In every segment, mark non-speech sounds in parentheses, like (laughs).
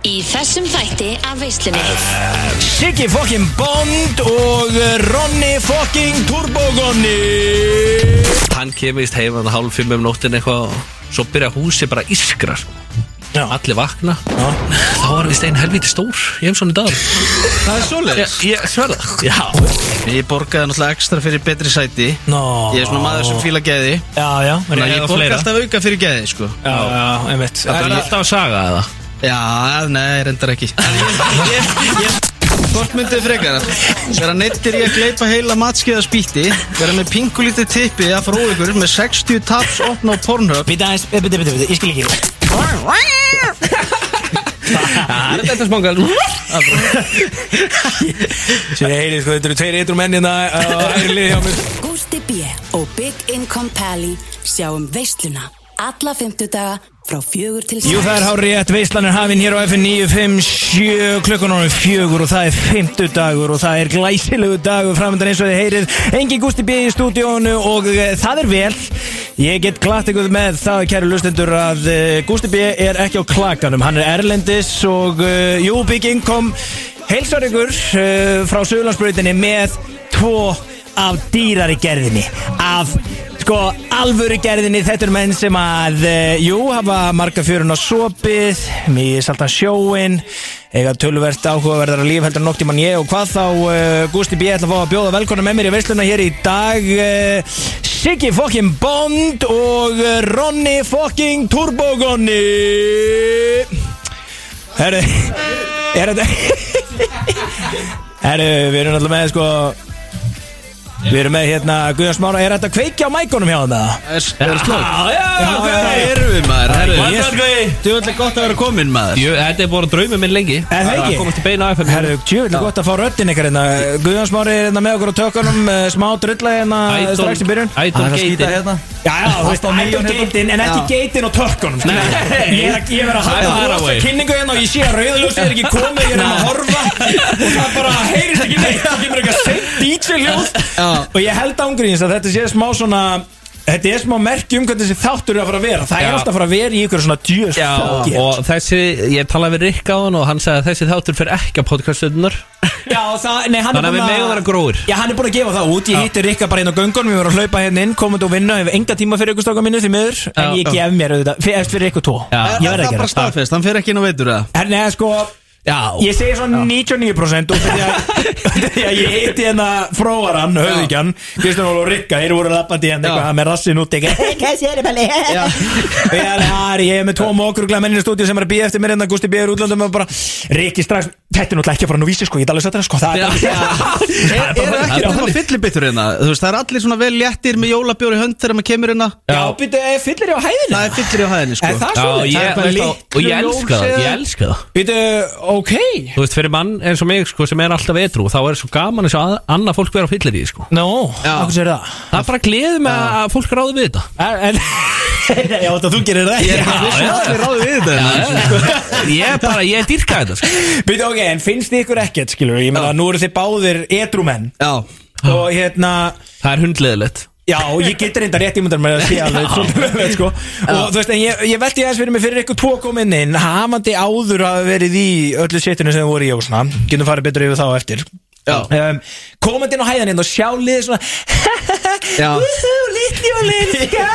Í þessum þætti af veislunni Siggi fokkin Bond og eh, Ronni fokkin Turbogonni hann kemist heim að hálf fimm um nóttin eitthvað og svo byrja húsi bara að ískra sko. Já. allir vakna Já. þá var vist einn helviti stór ég hef svona í dag Það er ég, svoleiðis ég sverða já, Ég borgaði náttúrulega ekstra fyrir betri sæti Nó Ég er svona maður sem fíla gæði Já, já, Þannig að rétt. ég borga alltaf auka fyrir gæði sko. Já, já, einmitt það er alltaf að saga eða Já, nei, reyndar (laughs) ekki Hvort myndið frekar Verða neittir í að gleypa heila matskeiða spýtti Verða með pingulítið tippi að fara úr ykkur Með 60 taps opna á Pornhub Býta aðeins, býta, býta, býta, ég skil ekki það er þetta smangal Sér heyrið, sko, þetta eru tveir eitrum mennina Æri liði hjá mér Gústi B. og Big Income Pally sjáum veisluna alla fymtudaga frá fjögur til Jú, það er hár rétt, veislan er hafinn hér á FM 957 klukkan ánum fjögur og það er fimmtudagur og það er glæsilegu dagur framöndan eins og þið heyrið Engin Gústi B. í stúdíónu og eh, það er vel Ég get glatt ykkur með það, kæru lustendur, að eh, Gústi B. er ekki á klakanum Hann er erlendis og uh, jú, Big Income heilsar ykkur uh, frá Suðurlandsbrautinni með tvo af dýrari gerðinni af sko alvöru gerðinni þetta eru menn sem að eh, jú hafa marga fjörun á sopið mjög saltan sjóin eiga tölverst áhugaverðar að líf heldur nokti mann ég og hvað þá uh, Gusti B. ætla að fá að bjóða velkona með mér í veisluna hér í dag uh, Siggi fokkin Bond og eh, Ronni fokkin Turbogonni Herru Er þetta Herru, við erum alltaf með sko Við erum með hérna Guðjón Smára, er þetta kveikja á mækonum hjá það með það? Það er slótt Já, já, Það erum við maður Yes. herru. Þú ætla gott að vera komin maður þetta er bara draumið minn lengi Er það ekki? að komast í beina FM Herru, tjúvill gott að fá röddinn ykkar hérna Guðjón Smári er hérna með okkur á tökunum eh, Smá drulla hérna Idol- strax í byrjun Já, Idol geitin hérna já, þú veist, Allt á ættu milljón hérna. geitin En ekki geitin og tökunum skilur. Ég er að- ég er að hafa Far rosa away. kynningu hérna Og ég sé að rauðljósið er ekki komið Ég er hérna að horfa Og það bara heyrist ekki neitt Það kemur eitthvað seint DJ Já. ljóð Og ég held ángríðins að þetta sé smá svona Þetta er smá merki um hvernig þessi þáttur er að fara að vera Það er Já. alltaf að fara að vera í ykkur svona djöðs Já, og þessi, ég talaði við Rikka á hann og hann sagði að þessi þáttur fyrir ekki á podcastunnar Já, það, nei, hann er Þannig að við búinn megum vera gróir. Já, hann er búin að gefa það út Ég hitti Rikka bara inn á göngunum Við vorum að hlaupa hérna inn, komandi og vinna Ég hef enga tíma fyrir ykkur stráka mínu því miður En Já, ég já. gef mér auðvitað Fyrir, eftir fyrir ykkur tvo Já. Ég verð að gera Það er sko. bara staðfest, hann fer ekki inn og veitur það En neða, sko Já, Ég segi svona 99% og (laughs) því að- því að ég hitti hérna fróaran, höfðingjan Kristján Óla og Rikka, þeir voru lappandi hérna eitthvað með rassin út ekki Hvað sér ég Og ég er þar, ég er með tvo mokruglega mennin í stúdíu sem er að býja eftir mér hérna, en það Gusti býður útlöndum og bara Rikki strax, þetta er náttúrulega ekki að fara nú vísi sko, ég get alveg satt það sko Það er Já. bara- Er, er ekki Já. koma fyllibittur hérna Þú veist, það er allir svona vel léttir með jólabjóri hönd þegar maður kemur hérna Já, býttu, er fyllir ég á hæðinu? Það er fyllir í á hæðinni sko Er það Já, svo? ég, er bara veist, litlu og- og ég elska það, ég elska það Býttu, ok Þú veist, fyrir mann eins og mig, sko, sem er alltaf etru þá er svo gaman að sjá að- annað fólk vera á fyllir í, sko Nó, okkur sér það Það er bara gleð með að fólk ráði við þetta En, en (laughs) Já, þetta þú gerir það Ég er bara Já, vissi já. að allir ráði við þetta hérna. Ég er bara, ég dýrka þetta, sko Býttu, ok, en finnst þið ykkur ekkert, skilur Ég meina, nú eru þið báðir edrumenn Já, Og hérna Það er hundleðilegt Já, ég getur reynda rétt ímyndar með að sé alveg svolítið vel, veit, sko. Og þú veist, en ég, ég velti aðeins fyrir mig fyrir ykkur tvo komin inn Hafandi áður að hafa verið í öllu setinu sem þið voru í og svona Getum farið betur yfir þá á eftir Já. um, Komandi inn á hæðan inn og sjá liðið svona (laughs) Já. Úhú, litli og (laughs) linska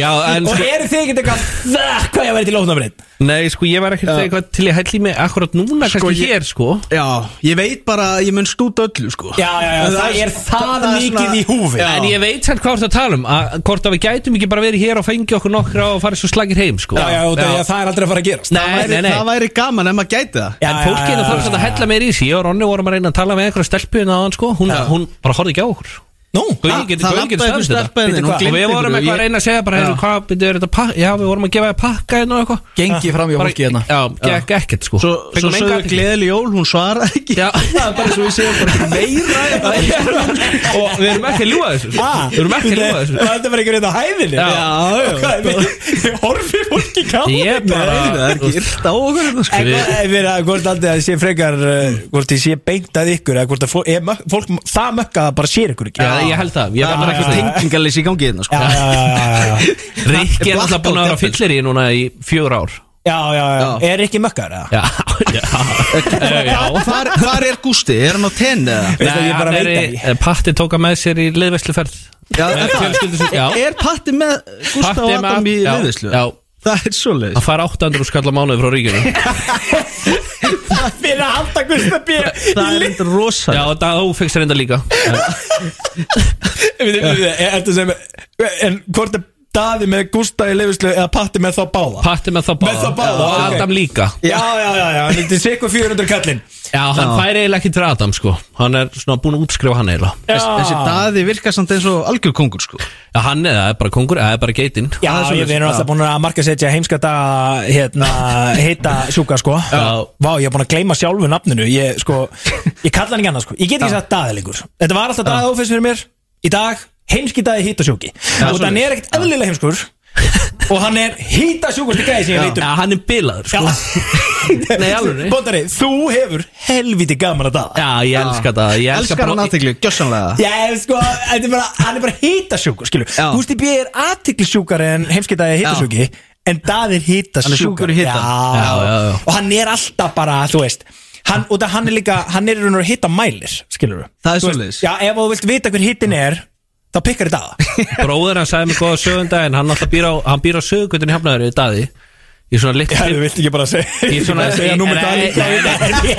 Já, en Og sko- eru þið ekkert eitthvað Það, hvað ég væri til ónafrið Nei, sko, ég var ekkert Já. eitthvað til ég hælli mig akkurat núna, Sko, kannski ég- hér, sko já, ég veit bara að ég mun stúta öllu sko Já, já, já, En það er það mikið í húfi. Já. En ég veit samt hvað þú ert að tala um að, Hvort að við gætum ekki bara verið hér og fengi okkur nokkra og farið svo slagir heim, sko Já, já, og það, það er aldrei að fara að gerast Það Nei, væri, nei, nei það væri gaman ef maður gæti það Já, En já, já, já, fólkinu þarf já. svolítið að hella meir í sig Ég og Ronni vorum að reyna að tala með einhverja stelpuðin að hann sko Hún, hún bara horfði ekki á okkur Nú, Gauði Það- getur það gauði getur labbaði staðist einhver stelpa hérna inn, hún þetta Og gleymdi við vorum einhverju, eitthvað að ég- reyna að segja bara heyrðu, Já. Hvað byrju, er þetta pakka? Já, við vorum að gefa þér pakka hérna og eitthvað Gengi fram hjá Bara- fólki hérna Já, gekk ekkert sko Svo, svo Fengum enga sögðu athygli. gleðileg jól, hún svarar ekki Já. Það er bara svo við segjum bara ekki meira (laughs) Og við erum ekki að ljúa þessu sko. Ah, Við erum ekki að ljúa þessu Það er bara einhverjum þetta hæðinni Já. Hvað, við horfið fólki gáði Ég bara Nei, Það er ekki yrt á okkur hérna, sko. En Við- hvað- ef við erum hvort aldrei að sé frekar uh, hvort ég sé beint að ykkur eða hvort að fólk, mök, fólk það mökka að það bara sér ykkur ekki Já, ég held það Ég var Það er bara bara ekki ekki tengingalins í gangi hérna sko. já, já, já, já, já. Rikki er Blackout hérna. alltaf búin að vera jafnvel. fyllir í núna í fjögur ár Já, já, já, Já. er ekki mökkar eða? Já, já, já, (laughs) já. Hvar, hvar er Gústi? Er hann á tenni eða? Veistu að ég (laughs) bara hann veit er það í- ekki. Patti tók hann með sér í (laughs) liðvesluferð Já, Með er það? fjölskyldu sinni, já. Er Patti með Gústa Patti og er með- Adam í já, liðislu? já. Það er svo Hann fær 800 skall á mánuði frá ríkinu Fyrir að halda Gustaf B Það er eitthvað rosa Já, og það ófengst reynda líka Ertu sem En hvort er Daði með Gustaf í leifislu Eða Patti með þá báða? Patti með þá báða, Með þá báða, Og ok. Adam líka Já, já, já, já, þetta er sikku 400 kallinn Já, hann Já. fær eiginlega ekki til Adam sko Hann er svona búin að útskrifa hann eiginlega Já, Þessi daði virkar samt eins og algjör kongur sko Já, hann er, það er bara kongur, það er bara geitinn já það er ég svoleiðis, við erum já. alltaf búin að marka setja heimska dag Hérna, heita sjúka sko Já. Vá, ég er búin að gleyma sjálfu nafninu Ég sko, ég kalla hann ekki annað sko Ég get ekki sagt Daði lengur Þetta var alltaf Daði ófins fyrir mér Í dag, heimski daði hýta sjúki Og hann svoleiðis. er ekkert eðlilega (laughs) heimskur Og hann er hýta sjúkast í gæði sem ég Já, leitum Já, hann er bilaður sko Já (laughs) Nei, í alvörunni. Bóndari, þú hefur helviti gaman að daða Já, ég elska það Ég elska Elskar hann bara- aðteglu, gjössanlega Já, ef sko, þetta er bara, hann er bara hitasjúkur, skilur Já. Gústi B er aðtiklisjúkar en heimskitaði hitasjúki En Daði er hitasjúkar Hann er sjúkur í hita. já. Já, já, já. Og hann er alltaf bara, þú veist Hann, og það hann er líka, hann er í raun og hitta mælir, skilur Það er svoleiðis. Já, ef þú vilt vita hver hittin er, þá pikkar (laughs) þetta Bróður hann sagði mig góða sögunda En hann alltaf býr á, hann býr á sögundin í hafnaður Daði Í svona litlu vilt ekki bara segja (laughs) Ég er svona segja númer Nei, Daði nei, nei.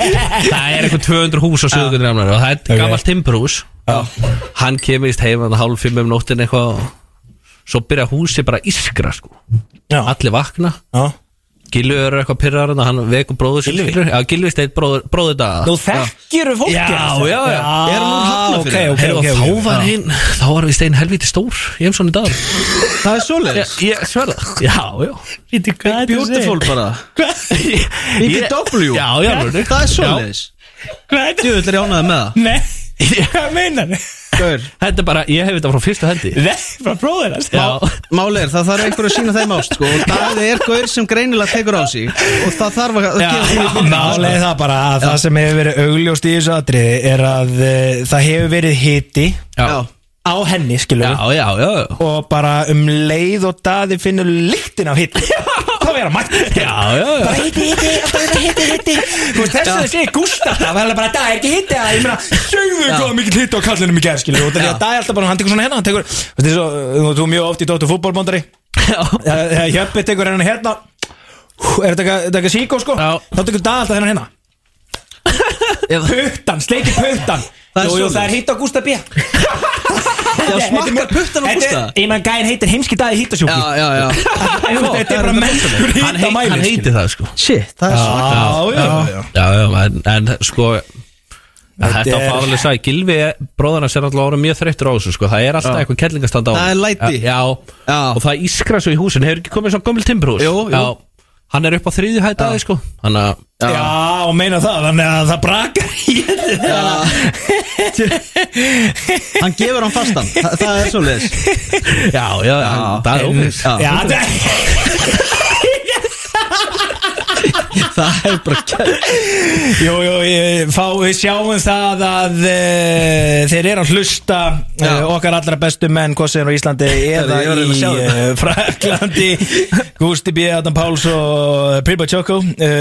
Það er eitthvað 200 hús á sögundin hafnaður Og það er okay. gammalt timbrús Hann kemist heim hann hálf fimm um nóttin eitthvað og Svo byrja húsi bara að ískra sko Já, Allir vakna já Gilvi er eitthvað pyrrar hann Hann vekur bróður sér Gylfi? Já, Gilvi steit bróður, bróður daða Nú þekkiru fólki Já, alveg. já, já. Er hann úr Hafnarfirði? Ok, ok, Heyrðu, ok, ok þá var hinn, þá var við stein helviti stór Ég hef svona dag Það er svoleiðis Ég, ég sverða Já, já Viti hvað Beautiful bara (laughs) BBW. Já, já alveg. Það er svoleiðis Hvað er þetta? Djöfull er ég ánægður með það Nei, hvað meinar þið? Gaur, Þetta er bara, ég hef þetta frá fyrstu hendi Nei, bara bróðir hans Já Máli er, það þarf einhver að sína þeim ást sko Og Daði er gaur sem greinilega tekur á sig Og það þarf að Já, gefa já, því Málið er það bara að það sem hefur verið augljóst í þessu atriði er að uh, það hefur verið hiti Já, á henni, skilur já, við já, já, já. og bara um leið og daði finnur lyktin af hiti þá verður mætt Já, já, já. bara hiti, hiti, alltaf verður hiti, hiti þú veist þess að það segir Gustaf það verður bara það er ekki hiti að ég meina sögðu við hvað mikið hiti á kallinum í gerð skilur og það er að daði alltaf bara hann tekur svona hérna hann tekur þú veist, svo, þú- þú er mjög oft í dóttu fútbolbóndari já. þegar Hjöppi tekur hennan hérna hú, er þetta eitthvað- þetta eitthvað síkó sko Já. þá tekur dag alltaf hennan hérna (laughs) puttan, sleiki puttan (laughs) Það er jú, jú, svoleiðis. það er hitt á Gústa B Já, smakkar puttan á Gústa Þetta er- ég menn gæðin heitir heimski daði hittasjúki Já, já, já (laughs) þetta er bara mennskur Hann, heit, hann hittamæli heiti það sko Shit, það er smakkar já, já, já. Já, já, en, en sko Þetta er- er fáðalega sæ Gilvi, bróðarnas er alltaf orðið mjög þreyttur á þessu sko Það er alltaf eitthvað kellingastanda á Það er honum. læti. Já, Já. og það ískra svo í húsin Hefur ekki komið svo gömul timbrús Jú, jú. Já, hann er upp á þriðju hætt aðeins sko Þannig að Já, og meina það, þannig að það brakar í þetta Hann gefur hann fastan Þa, Það er svoleiðis Já, já, já, það er ófins Já. Já, þetta Það er bara Jú, jú, ég, fá, við sjáum það að e, þeir eru að hlusta e, Já. okkar allra bestu menn, hvort sem er á (laughs) Íslandi eða Herðu, ég var að reyna að í sjá e, Fraklandi Gústi B. Adam Páls og Pirba Choco e,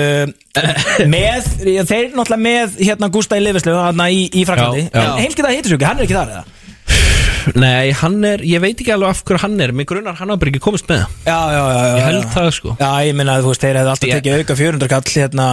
með, þeir náttúrulega með hérna Gústa í Lifislu, hann í, í Fraklandi Já, já. En heimskita hittisjúki, hann er ekki þar eða? Nei, hann er, ég veit ekki alveg af hverju hann er Mér grunar hann hafa bara ekki komist með það Já, já, já, já Ég held já. það, sko. Já, ég minna að þú veist, þeir hefði alltaf Ég- tekið auka 400 kall hérna,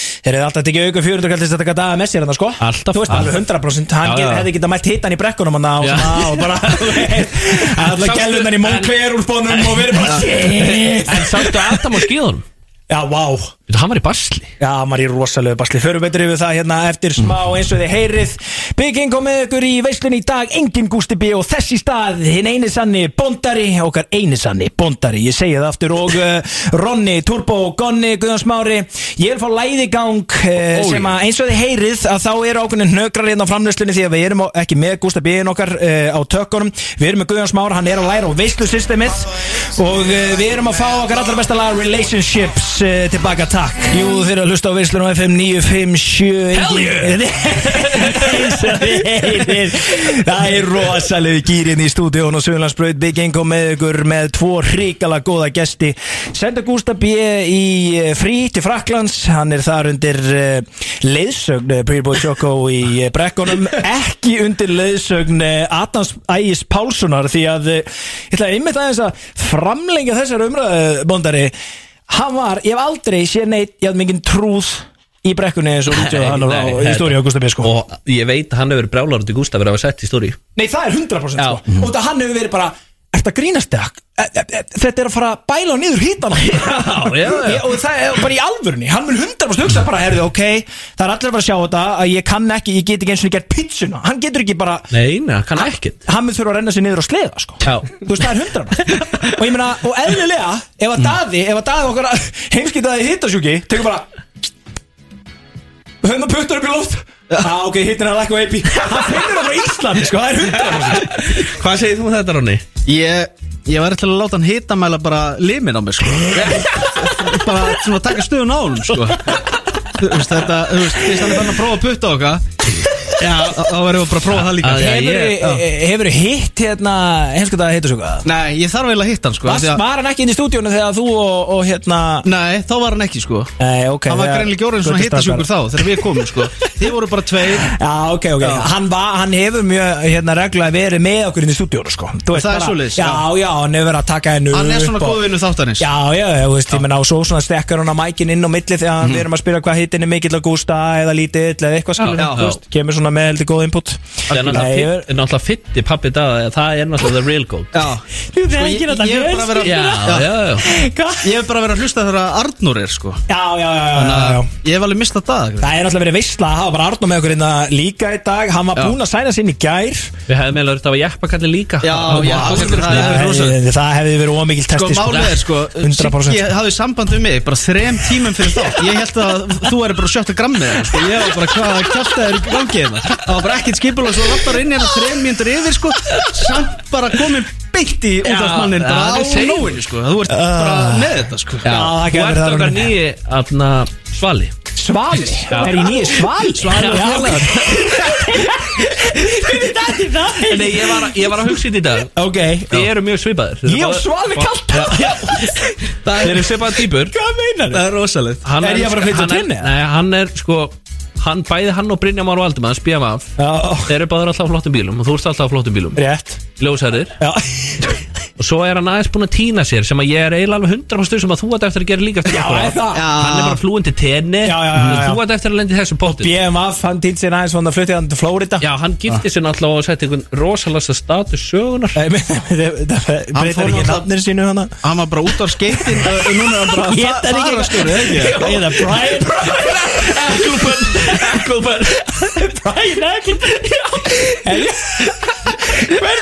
þeir hefði alltaf tekið auka 400 kall til þess að taka daga með sér hérna, sko Alltaf. Þú veist, alveg 100% hann Já, get, já. hefði getað mælt hittan í brekkunum hann og Já. svona og (laughs) bara, þú veist, alltaf Sástu- gælunan í mókver úr spónum og verið bara shit En sástu Adam á skíðunum Já, vá Veitu, Hann var í basli Já, maður er í rosalegu basli Förum betur yfir það hérna eftir smá eins og þið heyrið Bygging kom með ykkur í veislun í dag Engin Gústi B og þess í stað Hinn eini sanni bóndari Okkar eini sanni bóndari Ég segi það aftur og uh, Ronni, Turbo, Gonni, Guðjón Smári Ég er að fá læðigang uh, Ó, sem að eins og þið heyrið að þá eru ákveðin hnökrar hérna á framlöslunni því að við erum á- ekki með Gústa B. okkar uh, á tökkunum Við erum með Guðjón Smára, hann er að læra á eh, veislusystemið og uh, við erum að fá okkar allra besta lag Relationships uh, tilbaka takk Takk Jú, þeir eru að hlusta á veislun á FM 957 Hell (laughs) yeah Það er rosalegu gýrin í stúdíón og Sjölandsbraut Big Income með ykkur með tvo hrikala góða gesti Senda Gústa B. í eh, frí til Fraklands Hann er þar undir eh, leiðsögn eh, Pretty Boy Choco í eh, brekkunum Ekki undir leiðsögn eh, Adams Ægis Pálssonar Því að, eh, ég ætla einmitt aðeins að framlengja þessar umræðu, eh, bóndari hann var, ég hef aldrei séð neitt ég hafði mikinn trúð í brekkunni eins og útjóð hann var á Nei, í þetta- stóri á Gustaf Bísko Og ég veit að hann hefur verið brjálar út í Gustaf verið að hafa sett í stóri nei það er 100% Já. Mhm. sko. og þetta hann hefur verið bara Þetta grínast þig, E- e- e- þetta er að fara að bæla niður hýtana (laughs) Já, já, já. Og það er bara í alvörunni, hann mun 100% hugsa bara, herðu, ok, það er allir að fara að sjá þetta að ég kann ekki, ég get ekki eins og gert pizzuna Hann getur ekki bara, Nei, neða, kann ekkert hann mun þurfa að renna sér niður og sleða, sko Já. Þú veist, það er 100% Og ég meina, og eðlilega, ef Mm. að daði, ef að daði okkar heimskitaði hittasjúki, tekur bara Hönda puttar upp í loft Já, ah, ok, hittin að lækka upp í Það finnur það frá Íslandi, sko, það er hundra Hvað segir þú um þetta, Ronny? Ég, ég var eftir að láta hann hitamæla bara limin á mig sko (laughs) Bara svona taka stöðun á hún sko Þú veist þetta, þú veist, fyrst hann er bara að prófa að putta okkar Já, þá þá verðum við bara að prófa það Ah, líka Já, já, ég- Hefur, hefur e- hitt hérna heimskitaði hittasjúka? Nei, ég þarf eiginlega að hitta hann sko af því að, Var hann ekki inn í stúdíónu þegar þú og, og hérna Nei, þá var hann ekki sko Nei, ok Hann var þegar- greinlega gjórin svona hittasjúkur þá þegar við komum sko Þið voru bara tveir Já, ok, ok, hann, var, hann hefur mjög hérna, reglulega verið með okkur inn í stúdíónu sko. Þú veist Það er bara- svoleiðis, Já, já. já, hann hefur verið að taka hennu Hann er svona góð vinnu þáttanins Já, já, já, þú veist, ég menna og svo svona stekkar hún að mækin inn á milli þegar Mhm. við erum að spyrja hvað hittin er mikill að gústa eða lítill eða eitthvað skilur Já, já. þú veist, kemur svona með heldur góð input Nei, ég Það er er- náttúrulega fyndi- náttúrulega fyndi pappi dag Það er náttúrulega the real goat Já, Þú veist, Sko, enginn ég- að taka ég er bara að vera- Já, Já. já, já Hvað? Ég hef bara verið að hlusta þegar að Arnur er sko Já, já, já, já, já, já. Ég hef alveg mistað það Það er náttúrulega verið veistla að hafa bara Arnum með okkur innan líka í dag Hann var Já. búinn að sæna sinni í gær Við hefðum eiginlega verið að hafa jeppakallin líka Já, jeppakallinn, það það er er- Það rosa. hefði- það hefði verið ómikil Sko testi málið er (laughs) sko 100% Siggi hafði samband við mig bara þrem tímum fyrir þá Ég held að þú er bara sjötta grammið þér, sko. Ég var bara hvað að kjafta þér í gangið hérna Það var bara ekkert skipulega Svo lappar inn hérna þrem mínútur yfir sko Samt bara komin beitt í útlagsmannin það Bara er á segir. nóinu sko Þú ert bara með þetta sko Já, það þú gæti verið ert það, okkar Ronny. nýji Atna Svali Svali, er ég nýja Svali? (laughs) Svali og (laughs) Svali Nei, ég var, að- ég var að hugsa þetta í dag Ok, Þið eru mjög svipaðir Þið eru ég og báðir- Svali kallt Þið eru svipaðir týpur (laughs) Hvað meinar Það er rosalegt Hann Er ég bara að flytja hann er- tenni, eða? Nei, hann er sko hann, Bæði hann og Brynja Már Valdimann Spjaf af Já, Þeir eru báðir alltaf á flottum bílum Og þú ert alltaf á flottum bílum rétt Ljósæðir Já, (laughs) Og svo er hann aðeins búin að týna sér Sem að ég er eiginlega alveg 100% sem um að þú ert eftir að gera líka eftir Já, okkur á. er það? Hann er bara flúin til tenni Já, já, já, já, já. Þú ert eftir að lendi þessu bóttu BMF, hann týnt sér aðeins Þannig að fluttið hann til Flórida Já, hann gifti sér náttúrulega og setti einhvern rosalasta status sögunar Nei, (laughs) men- það- það breytar fór ekki náttúrulega- nafnir sínu hana Hann var bara út á skeitin Og núna er hann bara Ég það er ekki- farastjóri, eða ekki Eða Brian Ekkelbönn, ekkelbönn Brian Eglund En ég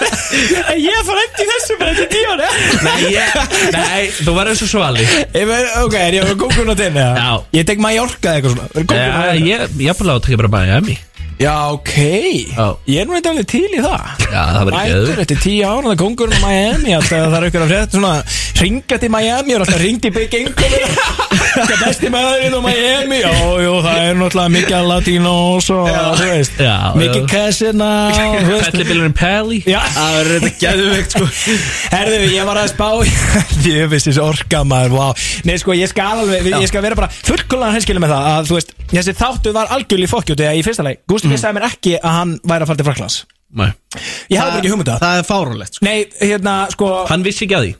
En ég fór ekki í þessu bara til tíu ára Nei, ég, nei, þú verður svo svali Ég meina, ok, er ég að kókun á tenni? eða? Já. Ég tek Mallorca eða eitthvað svona Er kóngurinn á Já, tenni? ég, ég búið að taka bara bæja emi Já, ok Já. Ég er nú eitthvað alveg til í það Já, það verður ekki Mætur öðru eftir tíu ára Það er kongurinn á Miami Alltaf það er ykkur að frétt Svona ringa til Miami Og alltaf ringt í Big Engum Það er besti maðurinn á Miami Já, jú, það er náttúrulega mikið latinos Og þú veist Já, Mikið já. kessina og þú veist Fellibillurinn Pally Já Það er þetta geðveikt sko Herðu, ég var að spá (laughs) Ég veist þessi orka maður, vá Nei, sko, ég skal alveg, ég skal vera bara fullkólan henskilum með það að, þú veist, þessi þáttu var algjörlega í fokkjóti að í fyrsta leik, Gústi Mhm. mm. sagði mér ekki að hann væri að fara til Fraklands Nei. Ég hafði bara ekki hugmynda það Það er fáránlegt sko Nei, hérna, sko Hann vissi ekki að því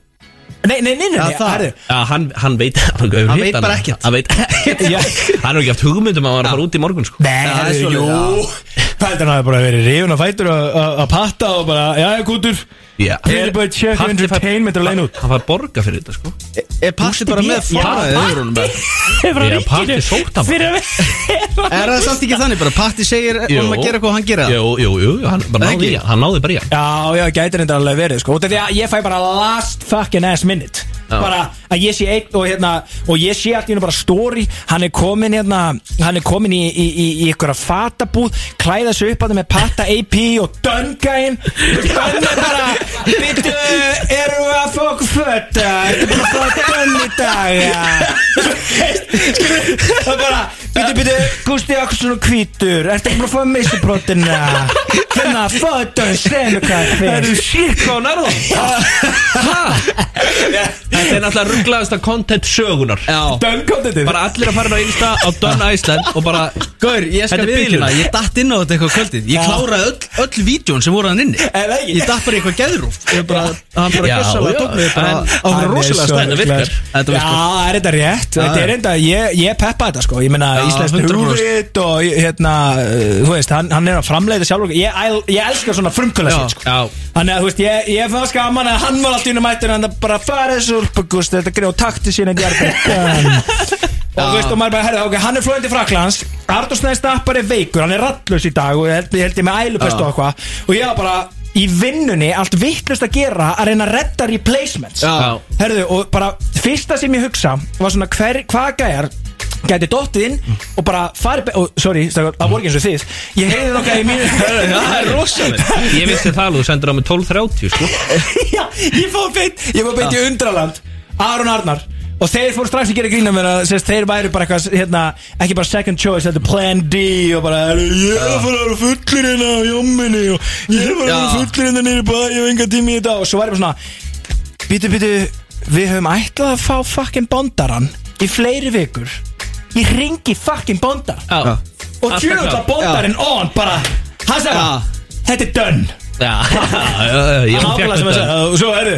Nei, nei, nei, nei, nei, Já, það. herðu Já, hann, hann veit Hann, Hann veit bara ekkert. Hann veit ekkert Já. Hann hefur ekki haft hugmyndum að hann var að fara út í morgun sko. Nei, Já, það er herðu, svoleiðis, jú Pældan hafði bara verið rifun að fætur að- að að patta og bara, já, já, kútur Já. Pretty Boy Check Patti fær- Entertainment er á leiðin út. Hann fær borga fyrir þetta sko. Er passi bara með Já, fáraðið yfir honum bara? Hefur Ég patti sótt hann Fyrir að Er það samt ekki þannig bara Patti segir Jú. um að gera hvað hann gera Jú, jú, jú, hann, bara Það náði, ekki? í hann. hann náði bara í hann Já, já, gætir þetta alveg verið, sko Út af því að ég fæ bara last fucking ass minute bara að ég sé eitt og hérna og ég sé allt í hennu bara stóri hann er komin hérna hann er komin í, í, í, í ykkur að fatabúð klæða sig upp að það með patta AP og döngæin dönn er bara bitu eru að fá okkur fötta ertu bara að fá okkur dönn í dag ja. Skilurðu? það er bara bitu bitu Gústi okkur svona hvítur ertu ekki bara að fá meistubrotina hérna fötta stenu kaffi Það eru shit hvað hún er það Þetta er náttúrulega rugglaðasta content sögunar dönn kom þetta Bara allir að fara inn á Insta á Dönn Æsland og bara Gaur, ég Þetta skal er viðkjöna, bilun. ég datt inn á þetta eitthvað kvöldið Ég Já. kláraði öll, öll vídjón sem voru hann inni Er það ekki? Ég datt bara í eitthvað geðrúf Ég bara, hann bara Já, já. gjössalega tók mig bara En- á hverju rosalega stæð Þetta virkar. Þetta Já, virkar. það er þetta rétt Þetta er enda, ég, ég peppa þetta sko Ég meina, Já, íslenskt 100%. húrit og hérna, uh, þú veist, hann, hann er að framleiða sjálfur ég, el- ég elskar svona frumkvöla sér sko Já. Þannig að, þú veist, ég, ég fann skaman að hann var allt í unum mættur en það bara farið þessu úlpugust þetta greið og takti sín en ég (laughs) er bara Og þú veist, og maður bara, herrðu, ok, hann er flóðandi fraklands Artur Snæði Stappar er veikur, hann er rattlös í dag og ég held, ég held ég með ælupest og eitthvað og ég var bara í vinnunni allt vittlust að gera að reyna að redda replacements Já. Herðu, og bara fyrsta sem ég hugsa var svona hver, hvað gæjar gæti dottið inn og bara farið be- og sorry, stakar, það voru ekki eins og þið ég heyrði nokkað í mínu Það er (laughs) rosalega Ég vissi það alveg, þú sendur á mig 12.30 sko. Já, ég fór beint ég fór beint í undraland Aron Arnar og þeir fóru strax að gera grína mér að sérst, þeir væri bara eitthvað hérna, ekki bara second choice, þetta er plan D og bara, "Herru, ég er að fara að vera fullir hérna á jomminni og ég er að fara að vera Já. fullir hérna nýri bæ og enga tími í þetta og svo væri bara svona býtu, býtu, við höfum ætlað að fá fucking bondaran í fleiri vikur ég ringi fucking bondar Já. og Alltaf tjóðla klár. bondarinn on bara, hann sagði Já. bara, þetta er done Já, já, Eh, já, já, hún Nákvæmlega fékk sem að þetta. segja Eh, Og svo er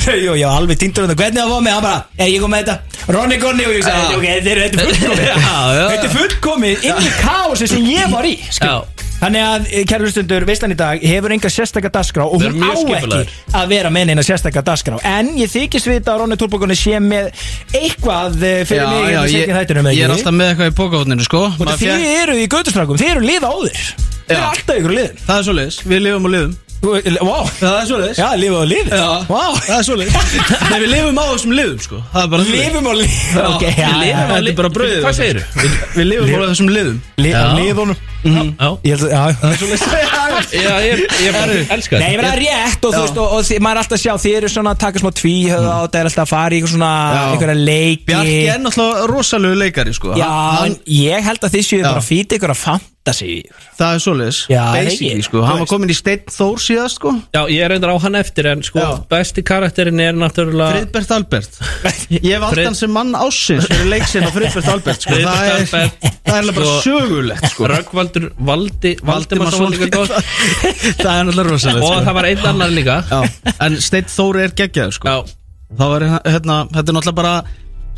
(laughs) þið Jó, ég var alveg týndur um þetta Hvernig það var með Hann bara "Eh, Ég, ég kom með þetta Ronny Gonni Og ég Ah. sagði Ok, þetta er þetta er (laughs) fullkomið Já, já, já. Þetta er fullkomið Inn í kási sem ég var í skil. Já. Þannig að Kjærlu stundur Veislan í dag Hefur enga sérstakka dagskrá Og Við hún á erum mjög ekki skipulagðir. Að vera með neina sérstakka dagskrá En ég þykist við þetta að Ronny Túrbókunni sé með Eitthvað eh, fyrir Já, mig já, hérna ég, seinni í þættinum, ég er ekki? alltaf með eitthvað í pokahóttinu sko Og Maður Þið fékk- eru í göttustrákum Þið eru liða áður Þið eru Já. alltaf ykkur liðin Það er svoleiðis, við lifum og lifum Þú- (laughs) Vá Það er svoleiðis Já, lifa á liðið Já. Vá Það er svoleiðis Nei, við lifum á þessum liðum sko Það er bara svoleiðis. Lifum og lifum Já, okay, Við lifum á Þetta er bara brauðið. Hvað segirðu? Við- Við lifum á þessum liðum Já. Lifunum Já. Ég held að, já Það er svolítið (laughs) Já, ég, ég bara elska Nei, ég verða þetta rétt og þú Já. veist og, og þið, maður er alltaf að sjá Þið eru svona að taka smá tvíhöða og það er alltaf að fara í eitthvað svona Já. einhverja leiki Bjarki er náttúrulega rosalegu leikari sko Já, en Hann- ég held að þið séu Já. bara fýti ykkur að fanta sig Það er svoleiðis Já, Basically ekki. sko Hann var komin í Steinn Þór síðast sko Já, ég er reyndar á hann eftir en sko, Já. besti karakterinn er náttúrulega Friðbert (laughs) Albert Ég vald Frið- hann sem mann ásins fyrir leiksinn á Friðbert Albert sko. Friðbert Það er Albert. Það er alveg bara Sko- sögulegt sko. Röggvaldur Valdi, Valdimarsson líka góð (laughs) Það er alveg rosalegt og sko. það var einn annar líka Já, En Steinn Þór er geggjað sko. Já, Það var hérna Þetta er náttúrulega bara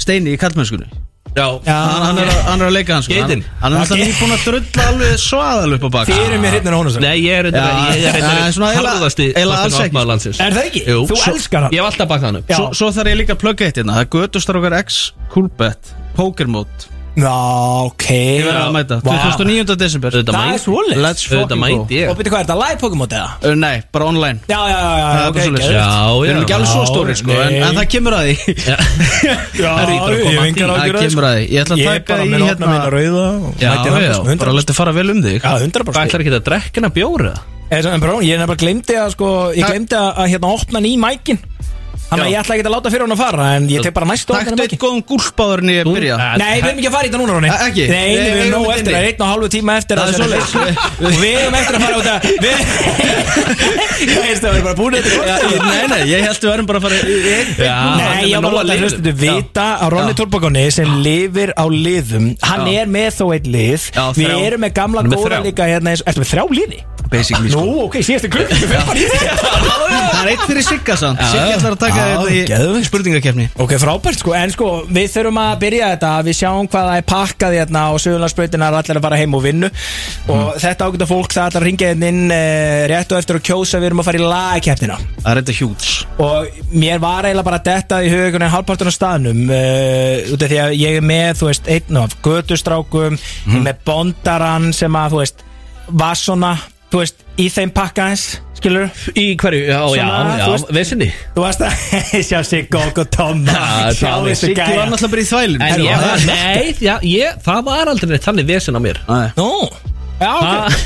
Steini í kallmennskunni já, Já. hann, hann, er að- hann er að leika hann sko. Geitinn. Hann, hann er alltaf Ok. nýbúin að drulla alveg svaðal upp á bak Þið eru mér hérna á honum svo Nei, ég er reyndar, Já. ég er Já, svona reyndar eiginlega- harðasti eiginlega alls ekki. opnaður landsins Er það ekki? Jú, Þú svo- elskar hann Ég hef alltaf bakað hann upp Já. Svo, (laughs) svo þarf ég líka að plugga eitt hérna Það er Götustarokar X, Coolbet, Pokermót Já, ok Ég verði að mæta, Vá. 2009. desember Auðvitað Það er mæti- svoleiðis. Let's fucking Auðvitað go. mæti Og ég byrju hvað er þetta, live Pokémon eða? Ö, Nei, bara online Já, já, já, já, Það er ok, bara svoleiðis. geðveikt. Já, Við já erum ekki alveg svo stóri sko en, nei. en það kemur að því Já. Já, Það er ég bara að ég koma hef að engar því. Það ágjur að kemur að því Ég ætla Ég að er bara taka í með opna minna hérna rauða og Já, mæti já, þangað, sko, bara 100%. letið fara vel um þig Já, 100% Það ætlar ekki að drekka hana bjóra Eða sem- En brón, ég er nefnilega glemdi að sko Ég Takk. glemdi að, að hérna opna hann í mækin Þannig að Já. ég ætla ekki að láta fyrir hún að fara En ég tek bara næstu opna hann í Taktu eitt mækin góðum gúlpáður en ég byrja Nei, Nei, við erum ekki að fara í þetta núna, Róni A- ekki? Nei, Nei, við erum við erum nóg ekki eftir, það er inni. einn og hálfu tíma eftir Það er að þessu svoleiðis. leik. Og við erum eftir að fara út (laughs) að Við Ég veist það, við erum bara búin þetta Já, gott. ég- Nei, nei, ég held við erum bara að fara í- í- í- Nei, ég var að hlusta þetta vita að Ronny Já. Torbakonni sem lifir á liðum Hann Já. er með þó eitt lið Já, Við þrjá. erum með gamla Hann er með góða þrjá. líka hérna eins- Ertu með þrjá liði? Basically Nú, sko ok, síðast er klukk Við fyrir bara í þetta (laughs) Það er eitt fyrir Sigga samt Sigga ætlar að taka Já, þetta í geðveikt. spurningakefni Ok, frábært sko, en sko, við þurfum að byrja þetta Við sjáum hvað það er pakkað hérna og sögurlandsbrautina er allir að fara heim og vinnu Mhm. og þetta ágæta fólk það ætlar að ringja hérna inn e, rétt og eftir að kjósa við erum að fara í lagakefnina Það er þetta hjúts og mér var eiginlega bara detta í hugunni halvpartun á staðnum uh, út af því að ég er með, þú veist, einn af götustrákum, ég er með bondaran sem að, þú veist, var svona þú veist, í þeim pakka eins skilur Í hverju, já, já, Svona, já, þú veist- vesinni Þú varst að (laughs) sjá Siggo og Tomma Já, Sjá Tommy. þessu Siggi var gæja náttúrulega bara í þvælum En Herru, ég það var, er- nei, já, ég, það var aldrei neitt þannig vesen á mér Nei. Nú Já, ok Það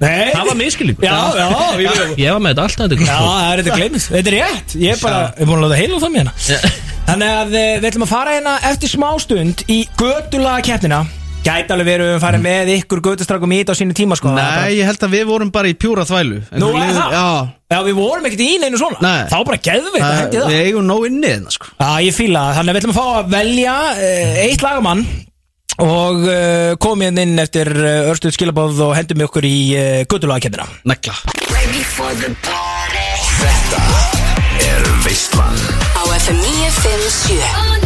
Nei það var miskilningur Já, já, ég veit Ég var með þetta alltaf þetta Já, kontroll. það er þetta gleymið Þetta er rétt Ég er bara Ég er Sko. búin að láta heila það mér hérna Þannig að eh, við ætlum að fara hérna eftir smástund í götulaga keppnina Gæti alveg verið að við höfum farið með ykkur götustrákum í þetta á sínu tíma sko Það er bara- Nei, ég held að við vorum bara í pjúra þvælu Nú er Einhver það? liður- Já Já, við vorum ekkert í neinu svona Nei. Þá bara geðveikt að hendi það Við eigum nóg inni þeirna sko Já, ég fíla það Þannig að við ætlum að fá að velja uh, eitt lagamann og uh, komið inn eftir uh, örstuð skilabóð og hendum við okkur í uh, guttulagakeppnina Negla Á FM 957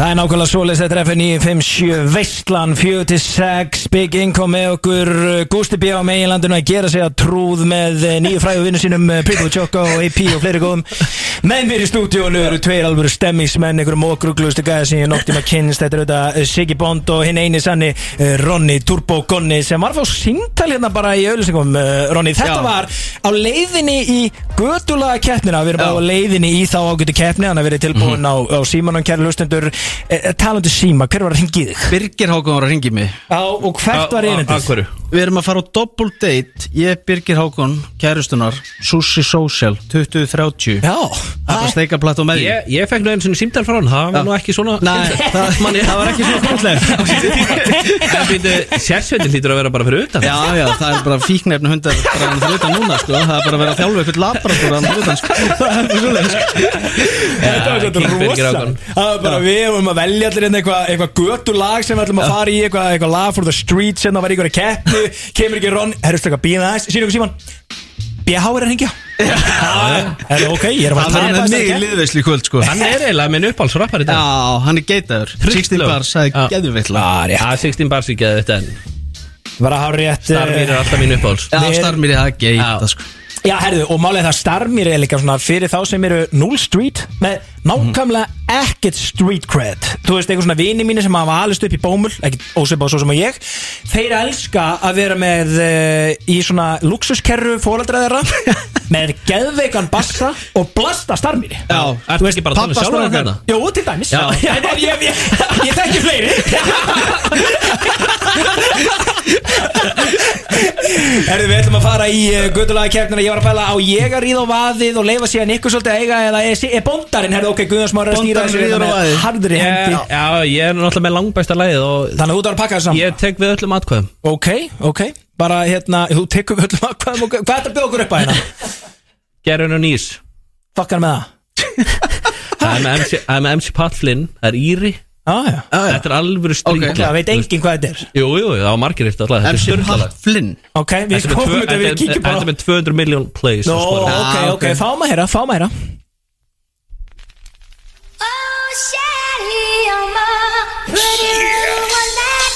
Það er nákvæmlega svoleiðis þetta er FN957 Veistlan 4-6 Big Income með okkur eh, Gústi B á meginlandinu að gera sig að trúð með eh, nýju fræðu vinnu sínum eh, Pico Choco og AP og fleiri góðum Menn mér í stúdíónu eru tveir alvöru stemmingsmenn einhverjum okruglustu gæða sem ég nokti maður kynst Þetta er auðvitað eh, Siggi Bond og hinn eini sanni eh, Ronny Turbo Gonni sem var að fá síntal hérna bara í auðlýsingum eh, Ronny, þetta Já. var á leiðinni í götulaga keppnina Við erum Já. á leiðinni í þá ágætu keppni Þannig að verið tilbúin Mhm. á, á símanum kæri lustendur e, Talandi síma, hver var að hringið þig? Birgir Hákon var að ringi mig Á, og hvert var Á- á- á erindið? hverju? Við erum að fara á double date Ég, Birgir Hákon, kærustunar Sushi Social 2030 Já, Það var steikaplatt á með Ég, ég fekk nú einu sinni símdal frá hann, það var Já. nú ekki svona Nei, það, Manni- það var ekki svona komplegt En býtu, sérsveitin lítur að vera bara fyrir utan Já, já, það er bara fíknefni hundar bara hann fyrir utan núna, sko Það er bara að vera að þjálfa eitthvað laboratúr hann fyrir utan, sko Það er bara svoleiðis, þetta var svolítið King Birgir rosa Ákvörðun. Það var bara við um að velja allir hérna eitthvað eitthvað götu lag sem við ætlum að fara í eitthvað eitthvað lag for the streets hérna var í einhverja keppni kemur ekki Ron, herrstu eitthvað býða aðeins sínum ykkur síman BH er að hringja Það er ok, ég er að Það fara var að tapa með mig í þessari keppni. liðveislu í kvöld, sko um Hann er eiginlega minn uppáhaldsrappar í Já, dag hann er geitaður 60 Hryllilegur. bars, það Já. er Já, geðvill rétt. Já, 16 bars ekki að þetta en Var að hafa rétt, Star eh, mín er alltaf mín uppáhalds Já, Við- starmir ég að geita, sko Já, herðu, og málið er það starmir er líka svona fyrir þá sem eru null street með nákvæmlega ekkert street cred Þú veist, einhver svona vini mínu sem hafa alist upp í bómul ekkert ósipað svo sem að ég Þeir elska að vera með uh, í svona luxuskerru fóraldra þeirra með geðveikan bassa og blasta starmir Já, Ertu ekki bara að tala um Pabba sjálfur starfar þetta? Jú, til dæmis Já. ég, ég, ég, ég þekki (laughs) fleiri Erðu, við ætlum að fara í uh, guttulaga keppnina Ég var að pæla á ég að ríða á vaðið og leifa síðan ykkur svolítið að eiga eða er, er bondarinn, herðu, ok, Guðjón Smári er að stýra Bóndarinn þessu ríður á hérna með vaðið. harðri Ég- hendi Já, ég er náttúrulega með langbæsta lagið og Þannig að þú þarf að pakka þessu saman ég tek við öllum atkvæðum Ok, ok, bara hérna, þú tekur öllum að hvað, hvað er að bjóða okkur upp að hérna? Gerun og Nýs Fokkar með það Það er með MC það er með MC Pat Flynn, það er Íri Já, Ah, já, Já, já. Þetta er alvöru strík Ok. það veit enginn hvað þetta er Jú, jú, það var margir eftir alltaf Þetta er MC styrtalag Pat Flynn Ok, við Þetta er með komum tvö- þetta, við þetta kíkjum er- þetta bara er með 200 million plays sko. Nó, á Spotify. ok, Ah, ok, ok. fáum að heyra, fáum að heyra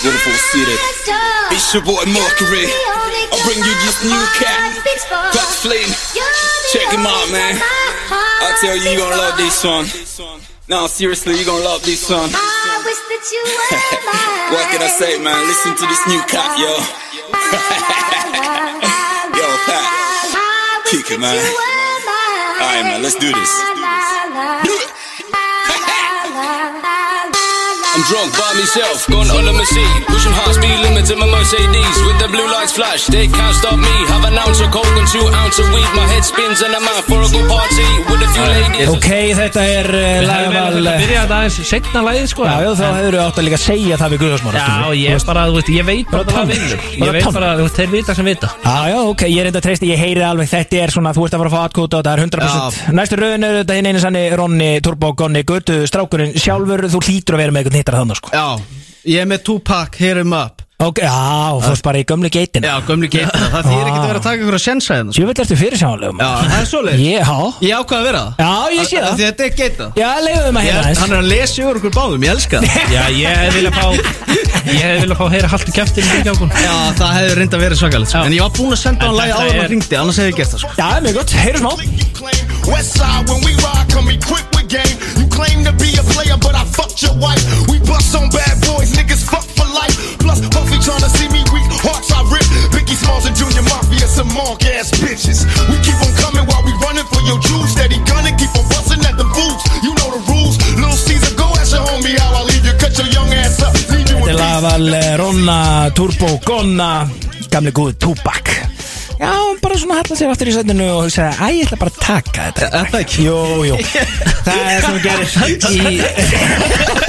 Beautiful city. It's your boy Mercury. I bring you this new cat. Got Got flame. Check him out, man. I I tell you, you gonna love this song. song. No, seriously, you gonna love this song. (laughs) what can I say, man? Listen to this new cat, yo. (laughs) yo, Pat. Kick it, man. Alright, man, let's do this. I'm drunk by myself, gone on the machine. Pushing hard speed limits in my Mercedes. With the blue lights flash, they can't stop me. Have an ounce of coke and two ounce of weed. My head spins and I'm out for a good party. With a few ladies. Ok, þetta er uh, Við hefðum lagaval eiginlega þurft að byrja þetta aðeins setna lagið sko Já, já, þá hefur við átt að líka segja það við Guðjónsmára Já, ég bara, þú veist, ég veit bara Bara að það tannur. vinnur Ég Bara veit tannur. bara, þú veist, þeir vita sem vita Já, Ah, já, ok, ég er enda að treysta, ég heyri alveg Þetta er svona, þú ert að fara að fá atkvóta og það er 100% Næstu rauðin er þetta hinn einu sannig Ronni, Turbo, Gonni, Götu, Strákurinn Sjálfur, þú hlýtur að vera með eitthvað hittar þannig sko. Já, ég er með Tupac, Hear Him Up Ok, já, fórst bara í gömlu geitin Já, gömlu geitina, það þýðir ekkert að vera að taka ykkur að sjensa hérna sko. Sjöfell ertu fyrir sjálfum Já, það er svoleiðis Ég, já, Ég ákvað að vera það já, ég sé Af- af það Því að þetta er geita Já, leiðum um að Ég- heyra Hann þess er að lesa yfir okkur báðum, ég elska það Já, ég hef viljað fá Ég hef viljað fá að heyra haltu kæftin í kjákun Já, það hefði reynda verið svakalegt sko. Já. En ég var búinn að senda hann En lagi þetta áður en er- hann ringdi Annars hefði ég gert það sko Já, mjög gott, heyru smá West side, when we ride, come equipped with game. You claim to be a player, but I fucked your wife. We bust on bad boys, niggas fuck for life. Plus, Humphrey tryna see me weak, hearts I rip. Biggie Smalls and Junior Mafia, some monk ass bitches. We keep Madonna, Turbo Gonna Gamli góðu Tupac Já, bara svona halla sér aftur í sætinu og hugsa Æ, ég ætla bara að taka þetta Er það ekki? Jú, (laughs) jú Það er sem gerir í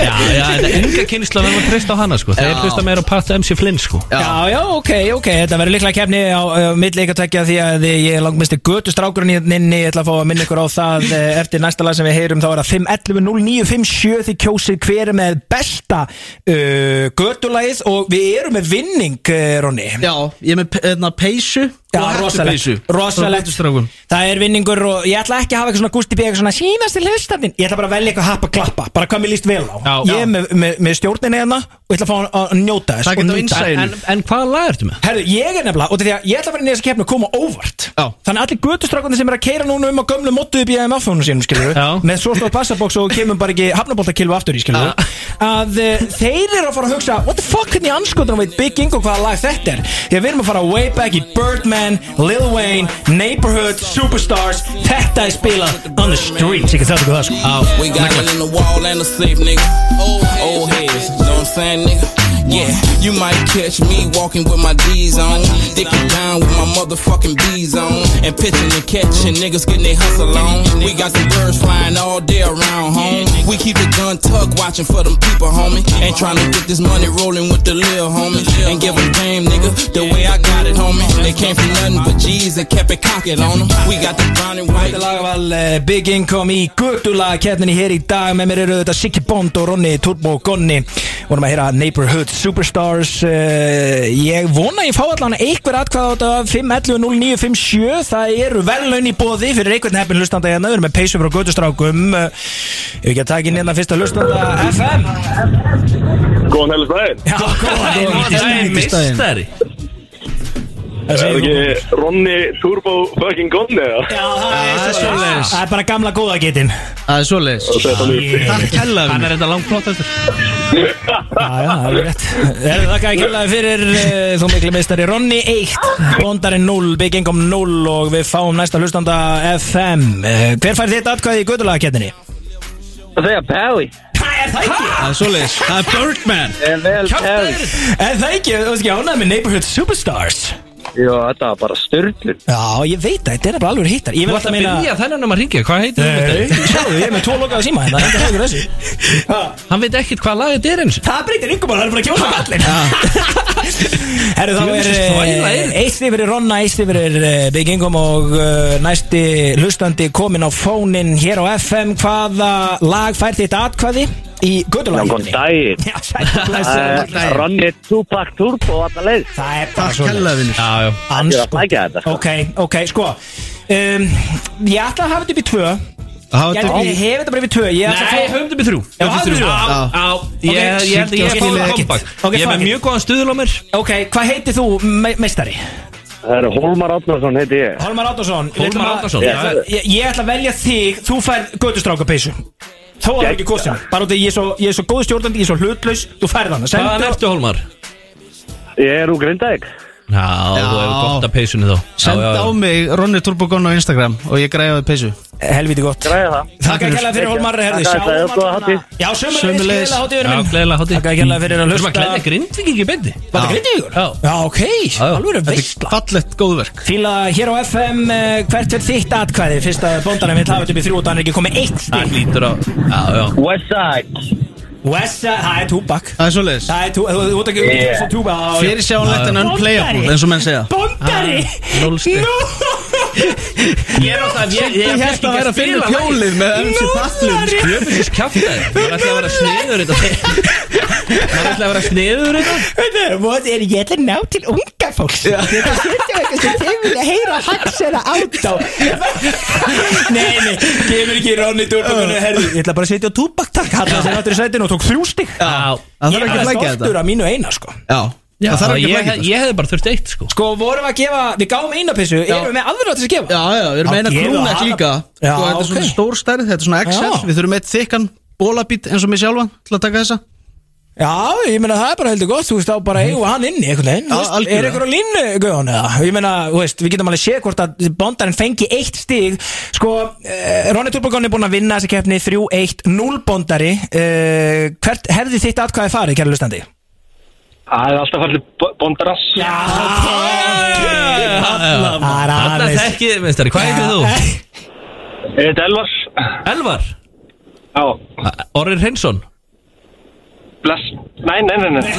Já, já, þetta er enga kynnsla verðum að treysta á hana sko Það er hlusta meira á Pat MC Flynn sko Já, já, ok, ok, þetta verður líklega kefni á uh, millikatækja því að ég er langmesti götu strákurinn hérna inni, ég ætla að fá að minna ykkur á það eh, eftir næsta lag sem við heyrum þá er það 5.11.09.57 því kjósið hver er með besta uh, götulagið og við erum með vinning, uh, Ronni Já, ég er með pe- hérna, peysu Já, og hettupeysu. rosalegt, rosalegt Frá götustrákum. Það er vinningur og ég ætla ekki að hafa eitthvað svona gústi bíða eitthvað svona síðasti hlustandinn Ég ætla bara að velja eitthvað happa klappa, bara hvað mér líst vel á Já. Ég er með, með, með stjórninni hérna og ég ætla að fá hann að njóta þess Það og getur nýta. insight. Sko, En, en hvaða lag ertu með? Herðu, ég er nefnilega, út af því að ég ætla að vera inn í þessa keppni og koma óvart Já. Þannig að allir götustrákandi sem er að keira núna um á gömlu móttuðu bíðaðum afhjónum sínum, skilur Já. Með svo stóð passabóks og kemum bara ekki hafnaboltakilfu aftur í, skilur Að uh, þeir eru að fara að hugsa, what the fuck, hvernig anskotunum veit Big Ingo hvaða lag þetta er Því að við erum að fara way back í Birdman, Lil Wayne, Neighborhood, Superstars Þetta er spilað on the streets, ég get þetta ekki það, sko Já, We got one in the wall and a safe, nigga. Old, old heads, you know what I'm saying, nigga? Yeah, you might catch me walking with my D's on, dicking down with my motherfucking B's on, and pitching and catching niggas getting their hustle on. We got some birds flying all day around home. We keep the gun tucked, watching for them people, homie. Ain't trying to get this money rolling with the lil homie, and give 'em game, nigga. The way I got it, homie. They came from nothing but G's and kept it cocked on 'em. We got the brown and white. Þetta lag var eh, Big Income í Gutula keppninni hér í dag með mér eru þetta Siggi Bond og Ronni Turbo og Gonni vorum að heyra Neighborhood Superstars eh, ég vona að ég fá allan einhver atkvæða á þetta 5.11.09.57 það eru verðlaun í bóði fyrir einhvern heppin hlustanda hérna, við erum með peysum frá Gutustrákum ef við ekki að taka inn hérna fyrsta hlustanda FM Góðan helst daginn Já, góðan Það er mistari Er það ekki Ronny Turbo fucking Gunn eða? Já, það er Það er svoleiðis. svoleiðis. Það er bara gamla góða getinn Það er svoleiðis Það er þannig Takk hella Hann er þetta langflottastur Já, já, það er rétt Herðu þakka ekki hérlega fyrir eh, þú miklu meistari Ronni 1, Bondarinn 0, Big Income 0 og við fáum næsta hlustanda FM Eh, Hver fær þitt atkvæði í gödulagakettinni? Þegar Pelli Það er það ekki Það er svoleiðis Það er Birdman En vel Pelli Er það ekki, þú veist ekki ánægð með Neighborhood Superstars Jó, þetta var bara styrlun Já, ég veit það, þetta er bara alveg hittar Ég vil Þú alltaf ætti að meina byrja þennan um að ringja, hvað heitir Nei, þetta? Sjáðu, ég er með tvo lokaða síma hérna, þetta er ekki þessu Ha, Hann veit ekkert hvað lag þetta er eins Það breytir yngum bara, það er bara að kjósa allir Herru, þá Jú, er þessi þvæla eh, er- eitt yfir er Ronna, eitt yfir er eh, Big Ingom og eh, næsti hlustandi komin á fónin hér á FM Hvaða lag fær þitt atkvæði í göttulaginu? daginn Já, sæll, blessaður. daginn. Ronny Tupac Turbo Alla leið (laughs) Það er bara Takk hella svona vinnur Já, já Ég er að flækja þetta, sko. Ok, ok, sko um, Ég ætla að hafa þetta upp í tvö Það Ég, var ég hef þetta bara upp í tvö Ég ætla Nei, að fá höfum við þrjú Já, Höfum við höfum við þrjú. Á, Já. á Ég ég held að ég skiljilega fáið að ekkert. kompakt Ok, Ég er fuck með it. mjög góðan stuðul á mér Ok, hvað heitir þú, me meistari? Það eru Hólmar Átnarsson heiti ég Hólmar Átnarsson við ætlum Hólmar að- Átnarsson Ég- það er- ég, ég ætla að velja þig Þú fær gödustrákapeysu Þó að það er ekki góð sem Bara út af því ég er svo, ég er svo góð stjórnandi, ég er svo hlutlaus Þú færð hann Hvaðan ertu Hólmar? Ég er úr Grindavík Já, þú hefur gott að peysunni þá Send Já, já, á já. mig Ronny Turbogon á Instagram Og ég græði á því peysu Helviti gott Græða það Takk ekki hella fyrir Hólmar herðu, Takk, þetta er sjáum góða hann hátíð. Já, Sömuleiðis. sömulegis Já, gleðilega hátíð Takk ekki hella fyrir að Þú erum að hlusta gleðja grindvík ekki bendi Var það grindvíkur? Já. Já, ok, já. alveg Þetta veist er fallegt góðverk Fíla hér á FM, eh, hvert er þitt atkvæði? Fyrst að bóndanum vill hafa þetta upp í þrjú og þannig er ekki komið eitt Það stig lítur á Já, já Westside Wessa, það er túbak Það er svoleiðis Það er tú- þú- þú ert ekki út í þessu túbak á- Fyrir sjáanlegt en unplayable Bondari. eins og menn segja Bondari Ah, núll stig. Nú (laughs) Ég er alltaf Ég ég- ég fékk ekki að spila lagið. með Núllari Jöfnir kjaftaði Ég ætlaði að vera sniður þetta Ég ætlaði að vera sniður þetta What er ég ætla að ná til unga fólks Þetta setja eitthvað sem þeim vilja heyra haksera átt á (laughs) Nei, nei, kemur ekki Ronny Dúrbakonu herði Ég ætla bara að setja á túbak takk Halla sér áttur í sætinu og tók þrjú stig Já Það Ég er þarf ekki að bara flækja þetta stoltur af mínu eina sko Já, Já, það þarf ekki að ég, flækja þetta ég hefði bara þurft eitt sko Sko vorum við að gefa, við gáum eina pissu Erum við með aðra til að gefa? Já, já, við erum Já, með eina gefið krúnek hana. líka Já, Sko, Þetta er svona ok. stór stærð, þetta er svona XL Já. Við þurfum eitt þykkan bólabít eins og mig sjálfan til að taka þessa Já, ég meina það er bara heldur gott, þú veist, þá bara Mhm. eigum við hann inni einhvern veginn, Já, þú veist, algjörlega. er einhver á línu guðan eða, ég meina, þú veist, við getum alveg séð hvort að bondarinn fengi eitt stig sko, eh, Ronny Turbogón er búin að vinna þessa keppni 3-1-0 bondari eh, hvert hefði þitt atkvæði farið, kæra lustandi? Það er alltaf fallið bondaras Já, Alla þekki, minnstari, hvað heitir (laughs) þú? Ég heit Elvars Elvar? Já Orri Reynsson? Bless Nei, nei, nei, nei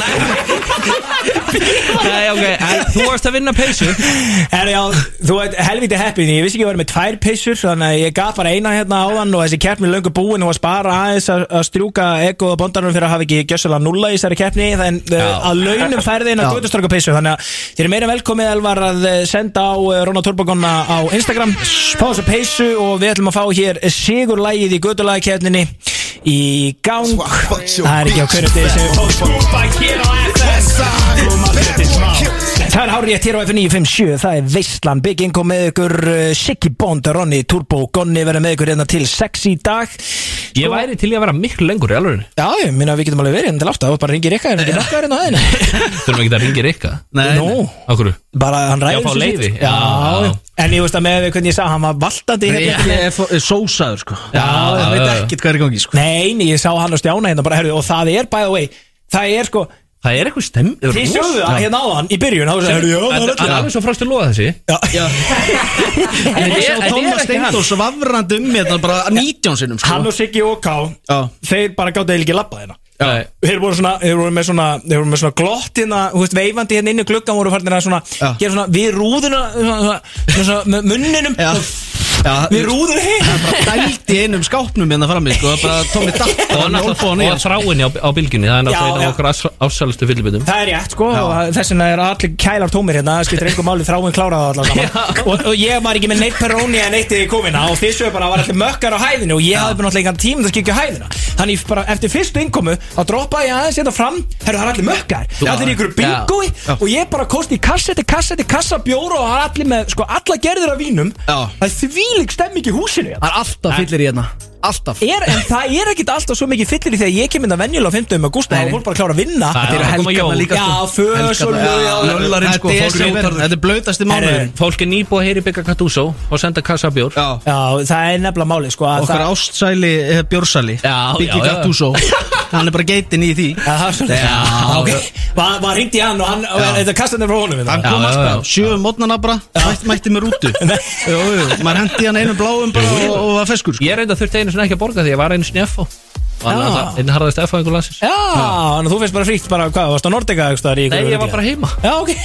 Nei, (laughs) ok, en þú varst að vinna peysu Herra, já, þú veit, helviti heppin Ég vissi ekki að ég var með tvær peysur Þannig að ég gaf bara eina hérna áðan Og þessi keppni er löngu búin og að spara aðeins að, að strjúka Ego og bondarunum fyrir að hafa ekki gjössalega nulla í þessari keppni Þannig uh, að launum færði inn á Já. gödustrakka peysu Þannig að þér er meira velkomið Elvar að eh, senda á eh, Rona Torbogonna á Instagram Fá þessu peysu og við ætlum að fá hér Sigurlægið í gödulagi keppninni Í gang Það er ekki á hverju degi sem við fóðum Það er hárið hér á F957, það er Veistlan Big Ingo með ykkur uh, Siggy Bond, Ronny Turbo og Gonni verða með ykkur hérna til 6 í dag Sko, Ég væri til í að vera miklu lengur í alveg Já, ég minna að við getum alveg verið hérna til átta og bara ringir ykkar hérna til okkar hérna á aðeina (laughs) Þurfum ekki að ringja Rikka Nei, Nú, Akkur bara hann Já, ræður fá svo sítt. leyfi. Já. Já, já. en ég veist að með hvernig ég sá, hann var valdandi Rikki hérna er fó- er sósaður sko Já, já, það já. veit ekkert hvað er í gangi sko Nei, nei, ég sá hann og Stjána hérna bara, herrðu, og það er, by the way, það er sko Það er eitthvað stem Þið sögðu það hérna áðan í byrjun, þá sagði, herrðu, já, það er Hann er öll alveg svo frosti loða þessi Já. (laughs) En þetta er- Og þetta er Thomas ekki hann. Steindors vavrandi um hérna bara 19 sinnum sko Hann og Siggi og Ká, Já. þeir bara gáttu eiginlega ekki labba hérna Nei. þeir voru svona, þeir voru með svona, þeir voru með svona glottina, þú veist, veifandi hérna inn í gluggan voru farnir að svona, gera svona við rúðuna, svona, svona, svona, svona með munninum, Já. Já, við rúðuna hérna. hann bara dældi einum skápnum hérna frammi sko bara Tommy Datt Og hann alltaf Og þráinni á, á bylginni Það er Já, náttúrulega já. einn af okkur ásælustu fyllibitum Það er rétt sko, og þess vegna er allir kælar tómir hérna, það skiptir einhver máli þráin klárað allar saman og, og ég var ekki með neitt peróni en eitt í komina og þið sögur bara að var allir mökkar á hæðinu og ég hafði bara náttúrulega engan tíma til að skikja á hæðina þannig ég bara eftir fyrstu innkomu þá droppaði ég aðeins þetta fram, herru það er allir mökkar allir í ykkur bingoi og ég bara kosti í kassetti, kassetti, kassa bjóra og það er allir með sko alla gerðir af vínum Já. það er þvílík stemming í húsinu hérna. Það er alltaf fyllir í hérna Alltaf er, en það er ekkit alltaf svo mikið fyllir í þegar ég kem inn að venjulega á 50 august og fólk bara klára að vinna Það eru helgarnar líka, Já, fös og lög Löllarinn sko Þetta er fór í desember. ótarður. Þetta er blautasti mánuðurinn Fólk er nýbúið að heyri byggja Katúsó Og senda kassa af bjór Já Já, það er nefnilega máli sko að Okkar það, ástsæli eh, Bjórsæli Já, Biggi já, já. Gattuso Hann er bara geitin í því Já, það er svolítið Já, (laughs) ok Var, var hringdi í hann og hann og Þetta kastaði frá honum hérna. Hann þetta. kom já, já. alltaf Sjö um mótnana bara mætti, mætti með rútu Jú, jú Maður hendi hann einum bláum bara og, og var feskur sko. Ég reynda þurfti einu sinni ekki að borga því ég var einu sinni F Einn harðast F á einhver landsins Já, þannig að þú finnst bara fríkt bara hvað, varst á Nordica einhvers staðar í Nei, einhverju ég var rugli? bara heima Já, ok (laughs)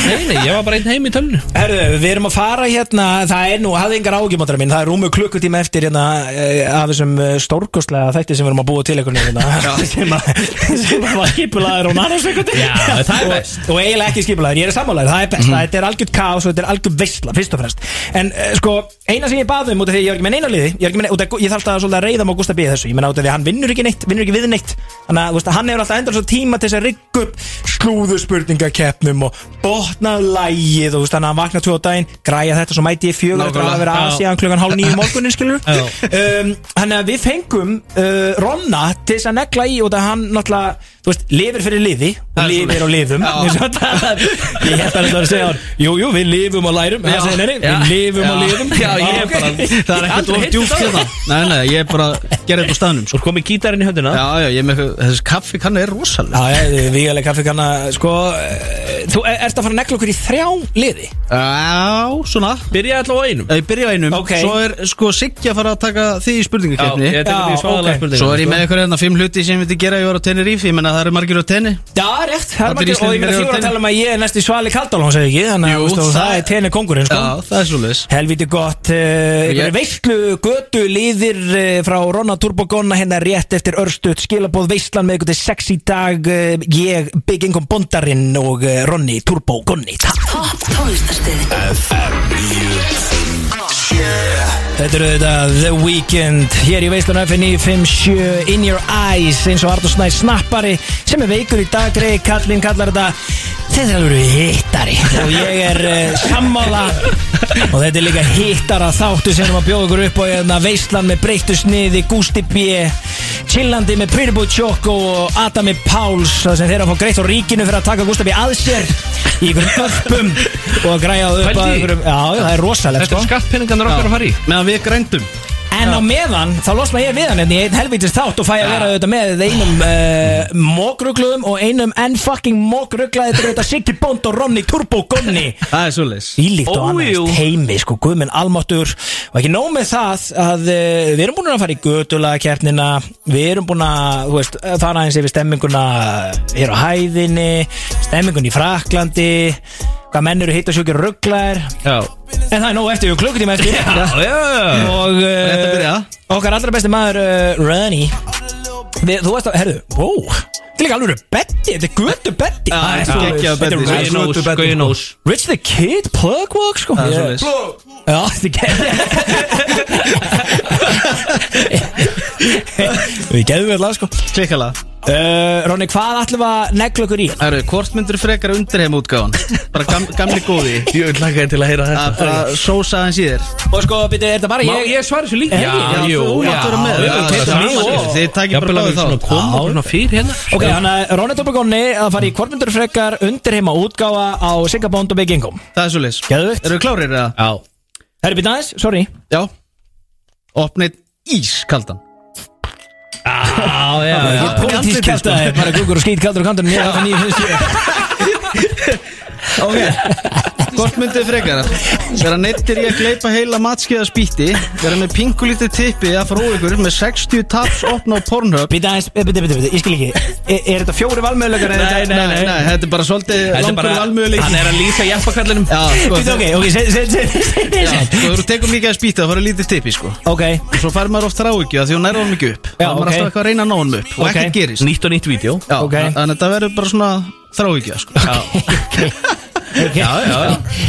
Nei, nei, ég var bara einn heim í tölnu Herðu, við erum að fara hérna Það er nú, hafði engar ágjumáttar mín Það er rúmu klukkutíma eftir hérna eh, Af þessum stórkostlega þætti sem við erum að búa til einhvern veginn hérna, (laughs) sem, að- sem að var skipulaður og nanarsveikundi Já, það er best. og, og eiginlega ekki skipulaður, ég er sammálaður Það er best, þetta er algjörð kaos og þetta er algjörð veistla Fyrst og fremst En eh, sko, eina sem ég bað um út af því að Ég var ekki með neina liði Ég, var ekki með, út af, ég þarf alltaf svolítið að reyða mig á Gústa B í þessu Ég menna út af því að hann vinnur ekki neitt, vinnur ekki við neitt Þannig að þú veist, hann hefur alltaf endur svo tíma til þess að rigga upp slúðurspurningakeppnum og botnað lægið og þú veist, þannig að hann vakna tvo á daginn, græja þetta svo mæti ég fjögur eftir að vera að síðan klukkan hálf nýju morgunin skilur um, Þannig að við fengum uh, Ronna til þess að negla í og það hann náttúrulega, þú veist, lifir fyrir liði og lifir og lifum Eins og það- Ég held að þetta að segja hann Jú, jú, við lifum og lærum Það segir henni, Já. við lifum og lifum Já, ég er ok. bara Það er ekkert of djúft hérna Nei, nei, ég er bara Gerði þetta á staðnum Svo sko. komið gítarinn í höndina Já, já, ég er með eitthvað- Þessi kaffi kannu er rosalega Já, ég, vígaleg kaffi kanna Sko, eh, þú er, ert að fara að negla okkur í þrjá liði Já, svona Byrjaði alltaf á einum Ég byrja á einum Ok. Svo er sko Siggi að fara að taka þig í spurningakefni ég Já, tekur því ok. svaðalega sko. spurningar Svo er ég með eitthvað hérna fimm hluti sem ég myndi gera ef ég var á Tenerife Ég menna það eru margir á Tenni Já, rétt, það er Allir margir Og ég meina Íslendingar því voru eru að tala um að ég er næst í svali Kaldalón, segi ekki Þannig að Jú, þú veist, og það- það er tenni kongurinn, sko Já, það er svolítið Helviti gott, uh, Ég- yeah. veistlu götu líðir uh, frá Ronna Turbogonna hérna rétt eftir Örstuð skilabóð veistlan með ykkur til sex í dag uh, ég, Big Income Bondarinn og uh, Ronni Turbogonni Takk. Topp tónlistarstöð Þetta eru þetta The Weeknd hér í veislan FN957 In Your Eyes eins og Artur Snæ snappari sem er veikur í dag Greg Kallin kallar þetta þetta er alveg hittari og ég er uh, sammála og þetta er líka hittara þáttu sem erum að bjóða ykkur upp á hérna veislan með breyttu sniði Gusti B Chillandi með Pretty Boy Choco og Adami Páls það sem þeirra fá greitt á ríkinu fyrir að taka Gustaf í aðsér í ykkurum öppum og græja upp Pældi að í. ykkurum Já, já, það er rosalegt Þetta sko er skattpenningarnir okkar að fara í Meðan við grændum En á meðan, þá losna ég við hann hérna í einn helvítist þátt og fæ að vera auðvitað með einum uh, mókrugluðum og einum enn fucking mókruglaði þetta er auðvitað Siggi Bond og Ronny Turbo Gonni Það er svolítið Ílíkt og annaðist heimi, sko, guðminn almáttur og ekki nóg með það að uh, við erum búin að fara í götulega kjarnina við erum búin að, þú veist, fara aðeins yfir stemminguna hér á hæðinni stemmingun í Fraklandi hvað menn eru hitt og sjúkir rugglaðir Já, en það er nóg eftir, við klukkutíma eftir já, já og Rétt að byrja. uh, okkar allra besti maður uh, Rönni Við, þú veist að, herðu, wow Þetta er líka alveg betti, þetta er götu betti Já, þetta er Sko, geggjaður þetta Beddi. Rich- Gauði Gauðinós, nós, gauði Gauðinós Rich the Kid plug walk sko Það er Ég- svoleiðis. Plug. Já, þetta er geggjaður Við geðum við alltaf sko Klikkala uh, Ronni, hvað ætlum við að negla okkur í? hérna? Það eru, hvort myndur frekar undirheim útgáðan? Bara gam, (laughs) gamli góði Ég vil langa þér til að heyra Að þetta Ah, bara sósa hans í þér Og sko, byrju, er þetta bara Má ég svara þessu líka? Já, jú, þú já, mátt vera já, með. já, Þetta er saman mig yfir. og- Þið takið bara Jafnvel að báðið við þá. svona komum bara svona fyrir hérna Ok, þannig að Ronny Topagóni að fara í Kormundur frekar undirheima útgáfa á Singabond og Big Income Það er svolítið Geðveikt. Eru klárir eða? Já Herri, byrju aðeins, sorry Já Opnið ískaldan Já, já, já Pólitísk sko. kæftæði, sko. bara gugur og skýt kaldur og kandur Mér er það nýjum finnst ég Ok (laughs) Hvort mynduð frekar Vera neittir í að gleypa heila matskiða spýtti Vera með pingulítið tippi að frá ykkur Með 60 taps opna á Pornhub Býta aðeins, býta, býta, býta, ég skil ekki E- Er, er þetta fjóri valmöðulegar? nei Þetta er bara svolítið Þetta er langur bara, valmöðuleik hann er að lýsa jafnbakallinum Já, sko Býta, ok, ok, segð, segð, segð, segð, Já, segð sko, þú tekum líka að spýta það fara lítið tippi, sko Ok, Og svo fær maður oft ráhyggju að því hún nærða honum ekki upp Já, Já, maður ok. er alltaf eitthvað að reyna að ná honum upp Og Ok. ekkert gerist Nýtt og nýtt vídeo Já, Ok. þannig að þetta verður bara svona þráhyggja sko. ok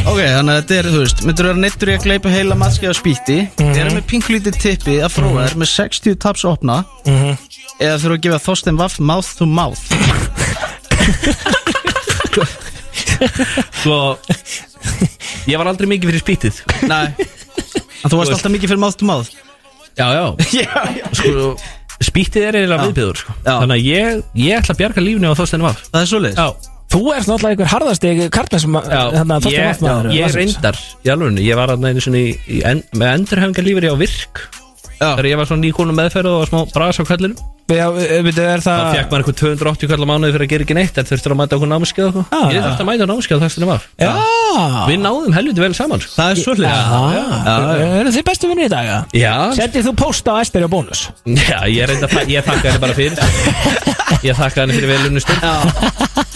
Ok, þannig að þetta er, þú veist Myndur vera neittur í að gleypa heila matskiða spýtti mm Erum með pinklítið tippi að fróa þér Með 60 taps opna Eða þurfa að gefa Þorstein Vaff mouth to mouth Svo (laughs) Ég var aldrei mikið fyrir spýtið Nei En þú varst veist. alltaf mikið fyrir mouth to mouth Já, já Sko, spýtið er eiginlega viðbyður sko. Já. Þannig að ég, ég ætla að bjarga lífni á Þorstein Vaf Það er svoleiðis Þú ert náttúrulega einhver harðasti karlins Þannig að þóttum ég, vatnaður ég reyndar í alvegni, ég var að einu sinni í, í en, með endurhæfingar á virk Já. þegar ég var svona nýkónum meðferð og var smá brasa á kallinu Já, býta, er þá það fekk maður eitthvað 280 kallar mánuði fyrir að gera ekki neitt en þurftur að mæta okkur námskeið Já. og eitthvað ég þurfti að mæta á námskeið á Þorstein Vaf Já við náðum helviti vel saman sko. Það er svoleiðis Já, eru þið bestu vinni í dag? eða? já, Settir þú posta á Esteri og bónus? já ég, reynda, ég þakka henni bara fyrir ég þakka henni fyrir velunni stund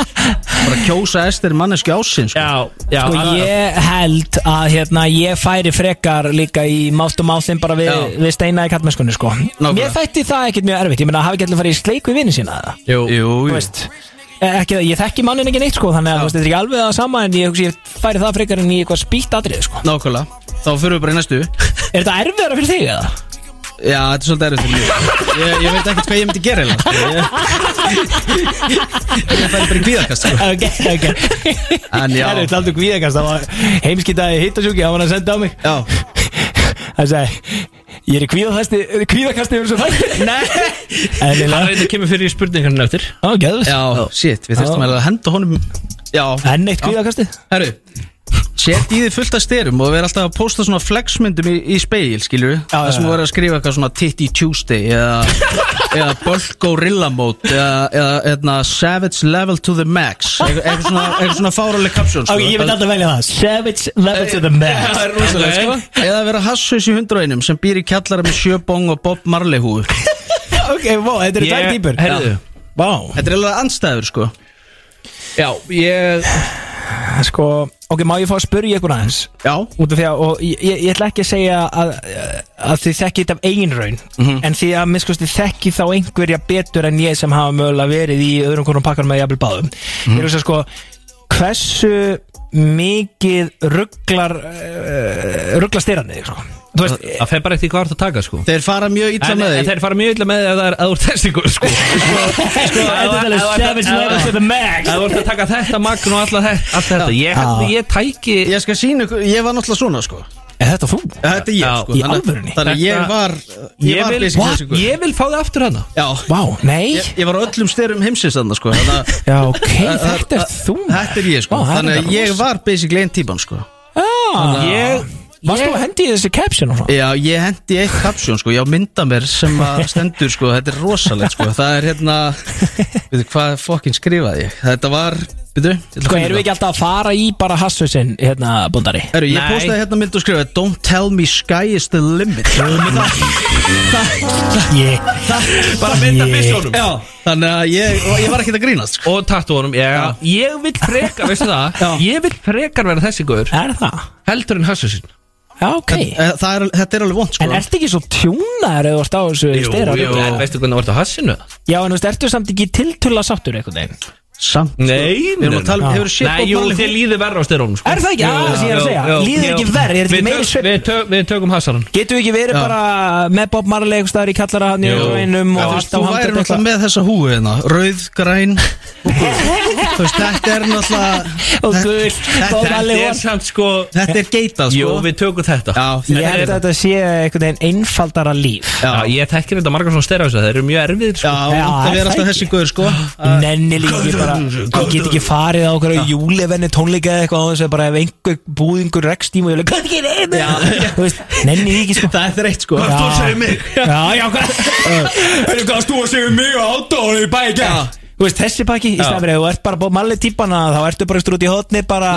Bara kjósa Ester manneski ásinn sko. já, já, Sko að- ég held að hérna ég færi frekar líka í mátt og máttin bara við, Já. við steinaði kattmennskunni sko Nákvæmlega. Mér þætti það ekkert mjög erfitt, ég meina hafi ekki allir farið í sleik við vinni sína það Jú. Jú, Þú jú veist, e- ekki, það- ég þekki mannin ekki neitt sko þannig að þú veist, þetta er ekki alveg það sama en ég, hugsa ég færi það frekar en í eitthvað spýtt atrið sko Nákvæmlega Þá fyrir við bara í næstu Er þetta erfiðara fyrir þig eða? Já, þetta er svolítið erfitt fyrir mig ég, ég veit ekkert hvað ég myndi gera eiginlega, sko. Ég, ég færi bara í kvíðakast sko. Ok, ok En já. Það er taldu kvíðakast, það var heimskitaði hittasjúki, það var hann að senda á mig Já Það sagði, ég er í kvíðakasti, kvíðakasti yfir þessu þætti Nei Það Eðlilega, reynda kemur fyrir í spurningarinn eftir á, geðvist Já, shit, við þurftum Já. eiginlega að henda honum Já, Enn eitt kvíðakasti herru Sett í þið fullt af styrum og við erum alltaf að posta svona flexmyndum í, í speil, skilur við Já, Það sem já, við já. erum að skrifa eitthvað svona Titty Tuesday eða, eða Bulk Gorilla Mode eða, eða eðna, Savage Level to the Max eitthvað, eitthvað svona, eitthvað svona fáraleg kapsjón sko. Ok, ég veit alltaf velja það Savage level to the max Það er rosalega sko Eða vera hasshaus í hundruinum sem býr í kjallara með sjöbong og Bob Marley húu Þetta Ok, wow, þetta eru tvær týpur Herðu Vá er alveg anstæður sko Já, ég Sko, ok, má ég fá að spyrja ykkur aðeins Já Út af því að, og ég, ég- ég ætla ekki að segja að, að þið þekkið þetta af eigin raun En því að minnskosti þekki þá einhverja betur en ég sem hafa mögulega verið í öðrum konum pakkanum með jafnvel báðum Ég er að segja sko, hversu mikið rugglar, uh, rugglar styranni, sko Þú veist, Það fer bara eftir hvað þú ert að taka sko Þeir fara mjög illa En, með en þig þeir fara mjög illa með því að það er að þú ert þessi (laughs) sko Sko, sko Þetta er alveg savage level to the max. Að þú ert að taka þetta magn og alla þetta, allt þetta Ég held að ég tæki Ég skal sína ykkur, ég var náttúrulega svona sko er þetta þú? Þetta er Já. ég sko Í þannig- alvörunni? Þannig að ég Þetta- var Ég Ég var vil, basic What? þessi, sko. ég vil fá það aftur hérna. hana Já Vá, nei Ég, ég var á öllum styrum heimsins þannig sko Þannig að Já, ok, að- að- þetta er þú Þetta er ég Vá, sko það Þannig reyndar að ég rosa. var basically einn típan sko Já, Ég, Varst þú að hendi í þessi caption og svona? Já, ég hendi eitt kapsjón sko, ég á mynda mér sem að stendur sko, þetta er rosalegt sko, það er hérna, veitu hvað fokkin skrifaði ég, þetta var, veitu, Sko, erum við ekki alltaf að fara í bara hassusinn, hérna, bóndari? Herru, ég postaði hérna mynd og skrifaði Don't tell me sky is the limit Ég, Bara mynda Ég- byssunum Já, þannig að ég, og ég var ekkert að grínast sko. Og tattúanum, já Ég vil frekar, veistu (laughs) það Já. Ég vil frekar vera þessi guður er það? Heldur en hassu sín Já, ok Eh, það er, Þetta er alveg vond sko En ertu ekki svo tjúnaður eða varst á þessu styrra? En veistu hvernig vartu á hassinu? Já, en þú veist, ertu samt ekki tiltöla sáttur einhvern veginn? Samt sko. Nei, Við erum að tala um, Já. hefur shit Nei, jú, þið líður verra á styrónum sko. Er það ekki? Já, það sem ég er að segja. Líður ekki verr, er þetta ekki Við meiri tök- sveifla? við tök- Við tökum hassarann Getur við ekki verið Já. bara með Bob Marley einhvers staðar í kallara hann í Jú. einum og Þú allt á veist, þú væri handið náttúrulega með þessa húi hérna Rauð, græn og gul. Þú veist, þetta er náttúrulega Og Þetta- gul, þetta- Bob Marley Þetta er var samt sko Þetta er geitað Jú, sko við tökum þetta Já, Ég held að þetta sé einhvern veginn einfaldara líf Já, ég tekkir þetta margar svona styrra Þeir eru mjög erfið Já, sko. það er það er alltaf þessi guður sko Ég Nenni líka ekki bara Ég get ekki farið á okkur júlevenni tónleika eða eitthvað á þess að bara ef einhver búðingur rekstíma og ég leik Hvað er ekki reyna? Þú veist, nenni því ekki sko Það er þreitt sko Já. Já, já, hvað Hvernig gafst þú að segja um mig á átónu í bæði gæt? Þú veist, þessi pakki, í stafrið, ef þú ert bara bóð malli típana þá ertu bara strúti í hotni bara,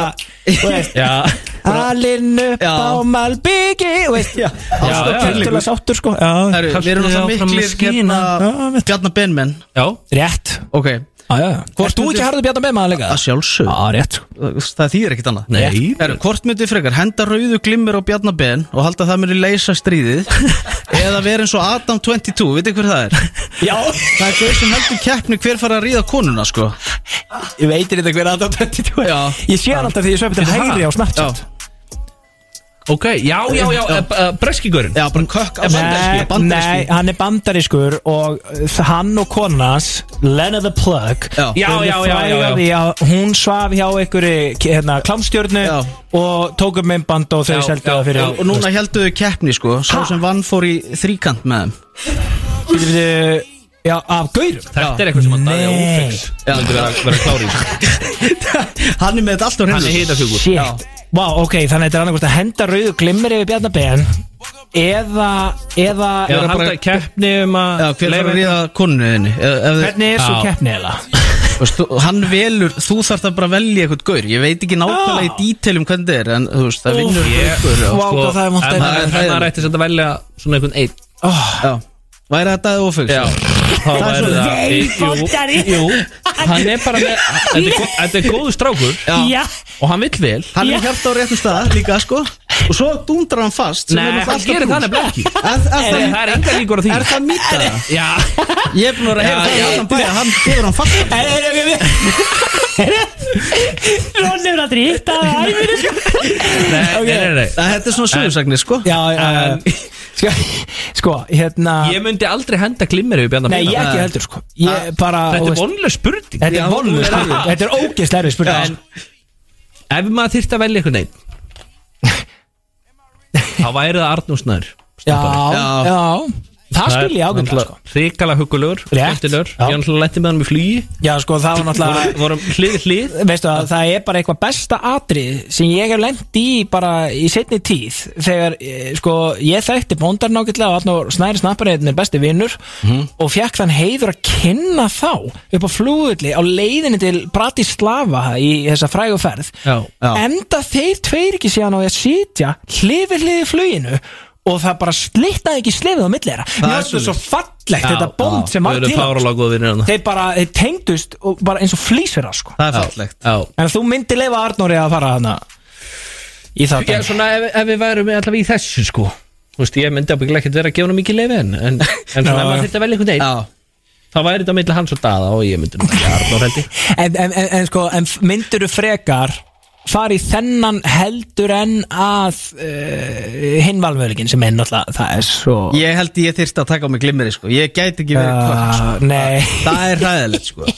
þú veist, Já, Alinn upp Já. á Malbyggi Þú veist, já, alltaf já. kjöldulega sáttur sko Já, Herru, Kastu Við erum þig áfram náttúrulega með miklir skína. Já, hérna veit. Bjarnar Benmenn já rétt Ok, Ah, Já, já, Hvort þú myndi- ekki harður bjarna með maður Ah, líka? að sjálfsög Já, rétt sko Það þýðir ekkit annað Nei. Herru, hvort myndið frekar henda rauðu glimmir á Bjarnar Ben og halda það muni leysa (laughs) stríðið eða vera eins og Adam 22, veitir hver það er? Já, Það er gauð sem heldur keppni hver fara að ríða konuna sko ég veitir þetta hver aðdám 22 Já. Ég sé hann alltaf því ég svefn til hægri á Snapchat Ok, já, já, já, já. Breskigurinn Já, bara um kökk á Nei, nei, hann er bandarískur og uh, hann og konas Lena the Plug Já. Já, urðu já, já, frægar já, já. því að Hún svaf hjá einhverju hérna, klámstjörnu Já. og tók upp myndband og þau Já, seldu já, það fyrir já. Og núna heldur þau keppni sko Sá sem vann fór í þríkant með þeim Bíddu, bíddu, Já, af gaurum Þetta er eitthvað sem að Daði Nei. Ófix Myndi vera, vera klári (laughs) Hann er með þetta allt á hreinu Hann er hitafjúkur Shit Vá, ok, þannig að þetta er annað að henda rauðu glimmir yfir Bjarnabenn Eða, eða, Eða halda í keppni um að Já, hver fara að leyfa- ríða konunni þinni Ef- ef þau- Hvernig er svo Já. keppni eða? Veist, þú- hann velur, þú þarf það bara að velja eitthvað gaur, ég veit ekki nákvæmlega í (gasps) Já. dítelum hvernig þetta er, en þú veist, það vinnur Ég- einhver gaur, Vá, Sko, hvað það er ef vont að- maður- ef Það er- maður ætti sem að velja svona einhvern einn já. Já. væri þetta að ofugst Já, það er er svo- það Nei, Jú, fólkari. Jú, hann er bara með Þetta er gó- þetta er góðu strákur Já. Og hann vill vel hann er hjart á réttum stað líka, sko og svo dundrar hann fast sem er Nei, náttúrulega hann gerir það alltaf plús. nefnilega ekki Er- er Það það- er enga líkur á því Er það mýta það? Já, Ég er búin að vera að heyra Já, það í já. annan bæ að hann gefur hann fast Ronni er að drýta sko. nei, nei, nei, nei Það- Þetta er svona sögursagnir, sko Já, En- já, já Sko, hérna Ég myndi aldrei henda glimmeri við Bjarnar Nei, ég Bjarnar. ekki heldur, sko Ég bara þú Þetta er veist, vonlega spurning Þetta er vonlu spurning Þetta er ógeðslega erfið En spurning sko. ef maður þyrfti að velja einhvern einn Þá væri það Arnúsnær Já, Já. já Það skil ég ágæmlega, sko Ríkala hugulegur, Rétt, skemmtilegur já. Ég náttúrulega letti með hann í flugi Já, sko, það var náttúrulega Vorum- Vorum hlið við hlið veistu að það er bara eitthvað besta atrið sem ég hef lendi í bara í setni tíð þegar eh, sko ég þekkti bóndar nákvæmlega og Arnur Snæri Snapparinn er besti vinnur og fekk þann heiður að kynna þá upp á flúðulli á leiðinni til Bratislava í þessa frægu ferð Já, já. enda þeir tveir ekki síðan á ég að sitja hlifi hliði fluginu og það bara slittaði ekki slefið á milli þeirra mér er finnst þetta svo svoleiðis. fallegt þetta bónd sem Þau var til eru okkar. fáralega góð vinnir hann þeir bara þeir tengdust og bara eins og flýsverða sko Það er fallegt Já En þú myndi leifa Arnóri að fara hana Í það Já, svona ef, ef við værum allavega í þessu sko Þú veist, ég myndi ábyggilega ekkert vera að gefa hann mikið leiði en, en, (laughs) en svona Já, ef já. maður þyrfti að velja einhvern einn Já, Þá væri þetta meitlega hans og daða og ég myndi nú ekki Arnór held ég en, en, en, en sko, en myndir þú frekar fara í þennan heldur en að uh, hinvalmöðlegin sem er náttúrulega það er svo ég held ég þyrst að taka á mig glimmeri, sko Ég gæti ekki verið kvöld, sko uh, Nei Það er ræðilegt, sko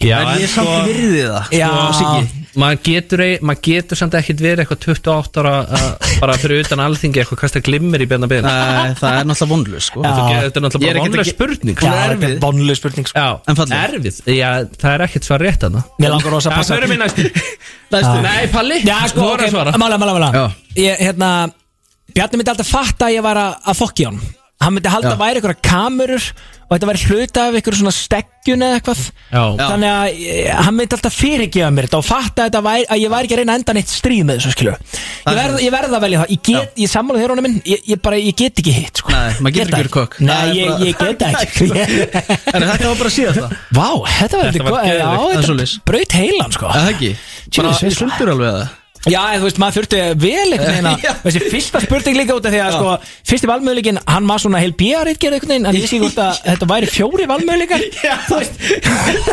Já, sko, En ég samt virði það, Já, sko, Siggi maður getur, ei- maður getur samt ekkit verið eitthvað 28 ára að- bara fyrir utan alþingi eitthvað kasta glimmer í björna byrna Nei, það er náttúrulega vonlust sko. Þetta er þetta er Ég náttúrulega bara er ekkert vonlega ekki- spurning Hún er sko. erfið. Bónuleg spurning sko Já, En falleg. erfið Já, það er ekkert svar rétt hana Mér langar rosa að Já, passa förum við næstu Læstu. Nei, Palli, Já, sko, þú voru að svara Mála, mála, mála Já. Ég, hérna Bjarni myndi alltaf fatta að ég var að, að fokki hann Hann myndi halda Já. að væri einhverja kamerur Og þetta væri hluta af einhverju svona steggjun eða eitthvað Já. Þannig að eh, hann myndi alltaf fyrirgefa mér þetta Og fatta að, þetta væri, að ég væri ekki að reyna að enda neitt stríð með þessu skilu Ég verð, ég verð að velja það Ég get, ég sammála þér honum minn Ég, ég bara, ég get ekki hitt sko. Nei, maður Get getur það ekki verið kokk. Nei, Það er ég, bara- ég get það ekki (laughs) Herru, Þetta var bara síðast það Vá, þetta var Þetta þetta var góð Já, geðveikt, það er þetta svoleiðis. braut heilan sko Það ekki Bara Jesus. í sundur alveg að Já, þú veist, maður þurfti vel einhvern veginn að (laughs) Já. Þessi fyrsta spurning líka út af því að sko, Fyrsti valmöðuleikin, hann var svona heil bíaritt gerð einhvern veginn, en ég sé hvort að þetta væri fjóri valmöðuleikar Já, þú (laughs) veist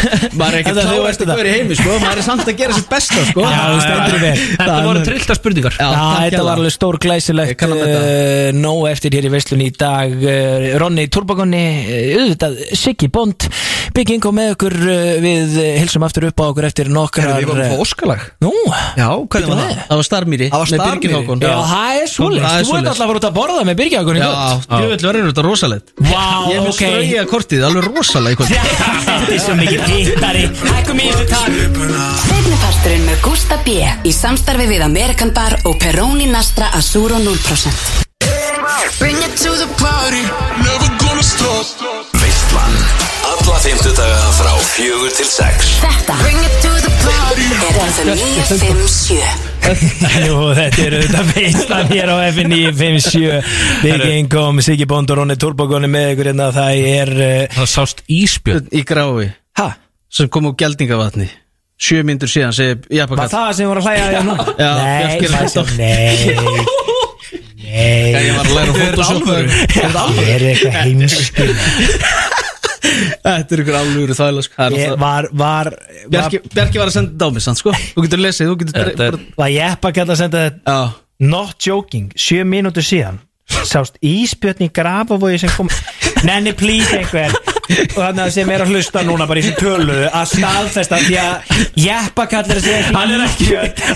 Maður er ekki Þannig að þú veist klárast að þetta. vera í heimi sko Maður er samt að gera sitt besta sko Já, þú stendur þig vel. Þetta voru trillta spurningar Já, Já, takk þetta hérlega. var alveg stór Ég glæsilegt kann að meta uh, Nó eftir hér í veislunni í dag uh, Ronni Turbakonni uh, auðvitað Siggi Bond Bygging og með okkur uh, við uh, hilsum aftur upp á okkur eftir nokkrar Við varum að fá Óskalag uh, Nú, Já, hvernig var það? Það var starmýri Það var með Starmýri. Birgir Hákon. já, það er svoleiðs Það Þú er ert svoleiðis. alltaf að fara út að borða með Byrgjákon í Já, kvöld djöfull verður þetta rosalegt Vá, Ég er með ok. strauja kortið, alveg rosalega í kvöld. (laughs) Þetta er svo mikið hittari Hækkum í þessu takk Setniparturinn með Gústa B. Í samstarfi við Amerikan Bar og Peroni Nastra Azuro 0%. Bring it to the party. Never gonna stop Veistlan Alla fymtudaga frá fjögur til sex Þetta Bring it to the party. er FM 957. Jú, þetta eru þetta veistan hér á F957 Bygging kom Siggi Bond og Ronni Turbogoni með ykkur hérna Það er uh, Það sást íspjörn Í grái Ha? sem kom úr geldingavatni sjö myndur síðan segir Var Japakall það sem voru að hlæja þér nú? Já, Nei, Bjarki er það að sem, (laughs) nei Nei, ég var að læra fótosjópa það er eitthvað heimskil Þetta er ykkur alvöru þvæla sko. Það er Ég alltaf- var, var, var, Bjarki, Bjarki var að senda dámis hann sko Þú getur lesið, þú getur Þetta er- bara- var ég eppa að senda þetta Já, Not joking, sjö mínútur síðan Sást íspjötni í grafavogi sem (laughs) kom Nenni please einhver Og þannig að sem er að hlusta núna bara í þessu tölu Að staðfesta því að Jeppa kallar þessi ekki Hann er ekki,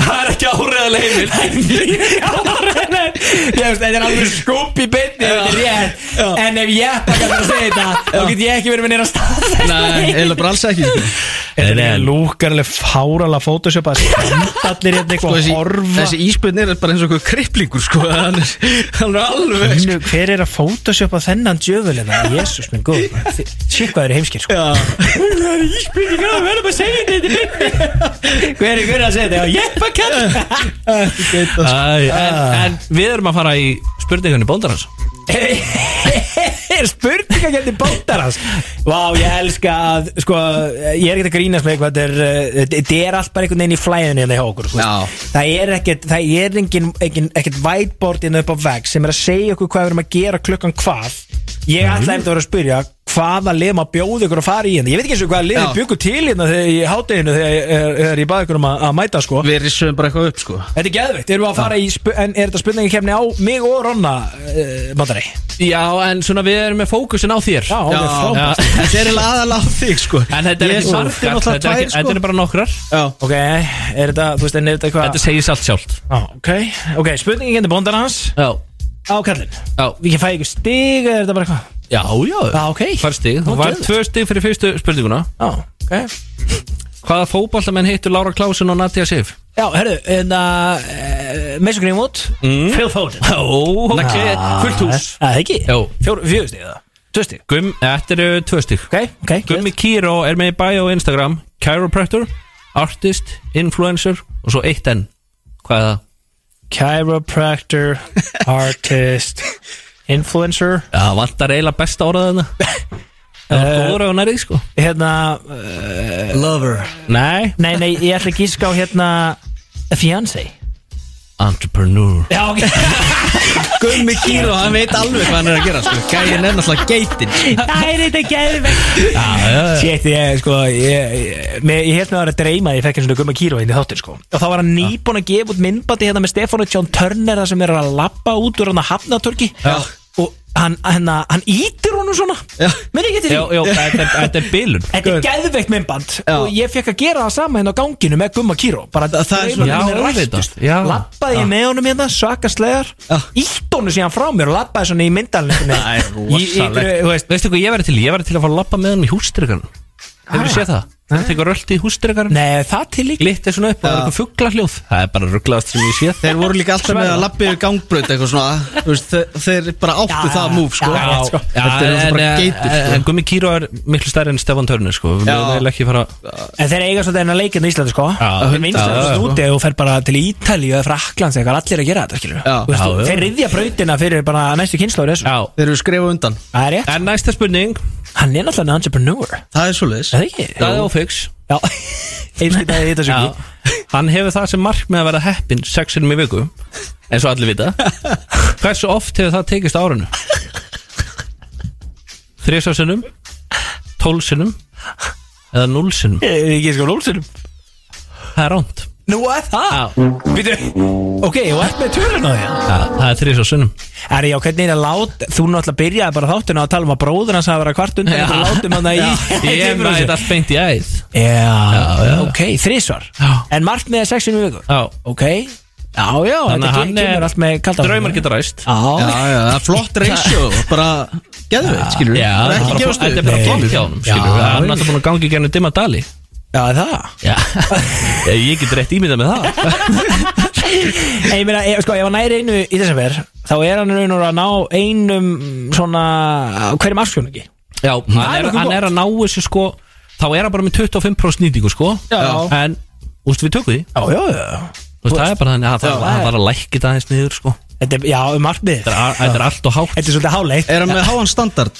hann er ekki áreðal heimil Ég veist, þetta er alveg skúp í beinni ef þetta er rétt. En ef jeppa kallar að segja þetta Þá get ég ekki verið með neina staðfesta Nei, eiginlega bara alls ekki sko. Þetta er lúkar alveg fárala Photoshop að standa allir hérna Sko, eitthvað að þessi, horfa þessi íspöðnir er bara eins og eitthvað kriplingur sko. (laughs) hann, er, hann er alveg sko. Nú, hver er að photoshopa þennan djöfulina? Jésús minn góð Sýk hvað eru heimskir sko Það er íspyrning að verða bara að segja þetta Hver er hver er að segja þetta? Já, ég bara (laughs) Æ, en, en við erum að fara í spurningunni bóndarans kann Er spurninga gæti bóttar hans Vá, ég elska að sko, ég er ekkert að grínast með eitthvað þetta er, uh, þetta er allt bara einhvern veginn í flæðinu hérna hjá okkur þú veist. Það er ekkert það er engin, engin, ekkert whiteboard innan upp á vegg sem er að segja okkur hvað við erum að gera klukkan hvað Ég ætla eftir að vera að spyrja hvaða lið maður bjóði ykkur að fara í hérna Ég veit ekki eins og hvaða lið Já. byggur til hérna þegar í hátteginu þegar þegar- þegar ég baði ykkur um að, að mæta sko Við rissum bara eitthvað upp sko. Þetta er geðveikt, erum við að fara í spu- en er þetta spurningi kemni á mig og Ronna uh, Máttari? Já, en svona við erum með fókusin á þér Já, ok, frábært. Já. Þetta sko. er eiginlega aðal á þig sko. En þetta er Ég ekki samdi margar, náttúrulega þetta er, ekki, tvær, sko. þetta er bara nokkrar Já. Ok, er þetta, þú veist, en er þetta Þetta eitthvað segir allt sjálft Á, Ok, ok, spurningi kemni bóndan hans Já, á kallin já, Við ekki fæ ykkur stig, eða er þetta bara eitthvað? já, já. Já, ok Fær stig, Nú, þú var geðveikt. tvö stig fyrir fyrstu spurninguna Já, ok Hvaða fótballamenn heitur Lára Klásun og Nadia Sif? Já, herru, en að Mason Greenwood Phil Foden Ó, fullt hús Mm. Ah. Það ekki? Jó. Fjóru, fjóru stig eða? Tvö stig Gumm, þetta eru tvö stig Ok, ok Gummi Kíró er með í bæja á Instagram Chiropractor, artist, influencer og svo eitt enn Hvað er það? (laughs) Chiropractor Artist Influencer Já, vantar eiginlega besta (laughs) orðaðina Það var góður á nærið sko Hérna uh, Lover Nei, Nei, nei, ég ætla að gíska á hérna Fiancé entrepreneur Já, (laughs) ok Gummi Kíró, hann veit alveg hvað hann er að gera sko. Gæin er náttúrulega geitin Það er þetta geðvegt Sétt, ég, sko Ég, ég, mér- ég held með að vera að dreyma að Ég fekk eins og gumma kíru inn í þáttir, sko Og þá var hann nýbúin að gefa út myndbandi Hérna með Stefán og John Turner Það sem er að lappa út úr hann að hafnatorki Já. Og hann, hann, hann ítir honum svona Meni ekki eftir Já, já, því? þetta er- þetta er bilun Þetta er geðveikt myndband og ég fekk að gera það sama hérna á ganginu með Gumma Kíró bara það er draumar svona- mínir Já, rættust. auðvitað. Já. labbaði Já. ég með honum hérna svakaslegar, ítt honum síðan frá mér og labbaði svona í (laughs) myndalinn eh, Veistu hvað ég verið til? Ég verið til að fara að lappa með hann í hústrygan Hefur séð það? Það tekur rölt í hústrygan Nei, það til líka Glitt er svona upp og það er eitthvað fugglahljóð Það er bara rugglaðast sem ég séð Þeir voru líka alltaf með að lappi yfir gangbraut eitthvað svona þú veist, þeir, þeir bara áttu Já, það múf sko. já, já, já, sko. Þetta er en, náttúrulega bara en, geitur sko. en Gummi Kíró er miklu stærri en Stefan Törnir sko. Við Já. mögum eiginlega ekki fara En þeir eiga svolítið hennar leikinn í Íslandi sko Þeir já, vinstar já, þessu sko. úti og fer bara til Ítalíu eða Fraklands eitthvað Allir að gera þetta skilur Já, Þú veist, já, já. Þeir riðja brautina fyrir bara næstu kynnslóður þessu Já. Þeir eru skrifa undan Það er rétt En næsta spurning Hann er náttúrulega entrepreneur Það er svoleiðis Er það ekki? Það er ófix Já Einskitaði þetta svo ekki (laughs) Hann hefur það sem markmið að vera heppin sex sinum í viku eins og allir vita Hversu oft hefur það tekist á árinu? Þrísa sinum Tól sinum Eða núl sinum Ég er ekki sko lúlsinum Það er ránt Nú er það Býtu Ok, og ert með tölun á því Það er þrísa sinum Er já, hvernig er að láta Þú náttúrulega byrjaði bara þáttuna að tala um að bróður hans hafa verið að kvart undan ykkur og látum hann að (laughs) í Ég í- mæði allt beint í æð Já, ok, þrísvar Já. En markmiðið er sex sinni í viku Já. Ok Já, já, Þannig að þetta hann kemur er allt með kaldan Draumar geta ræst Já, Já, já, það er flott reisjó Bara geðveitt, skilur við Já, Það er þetta er ekki bara- gefast þetta er bara Nei. flott hjá honum skilur við. Já. Hann er alltaf búin að gangi gennum dimma dali já það Já, (laughs) ég get rétt ímynda með það En Ég meina, ég, sko, ef hann næri einu í þessum verð Þá er hann raun og að ná einum mm, svona á Hverjum afskjóningi Já, Það er hann er, nokkuð hann gott. er að ná þessu sko Þá er hann bara með 25% nýtingu sko Já. En, úst við tökum því Já, já, já Þú veist, það er bara þannig að það- hann þarf að lækki það aðeins niður sko Þetta er, já, um markmiðið Þetta er- Þetta er allt og hátt Þetta er svolítið háleitt Er hann með háan standard?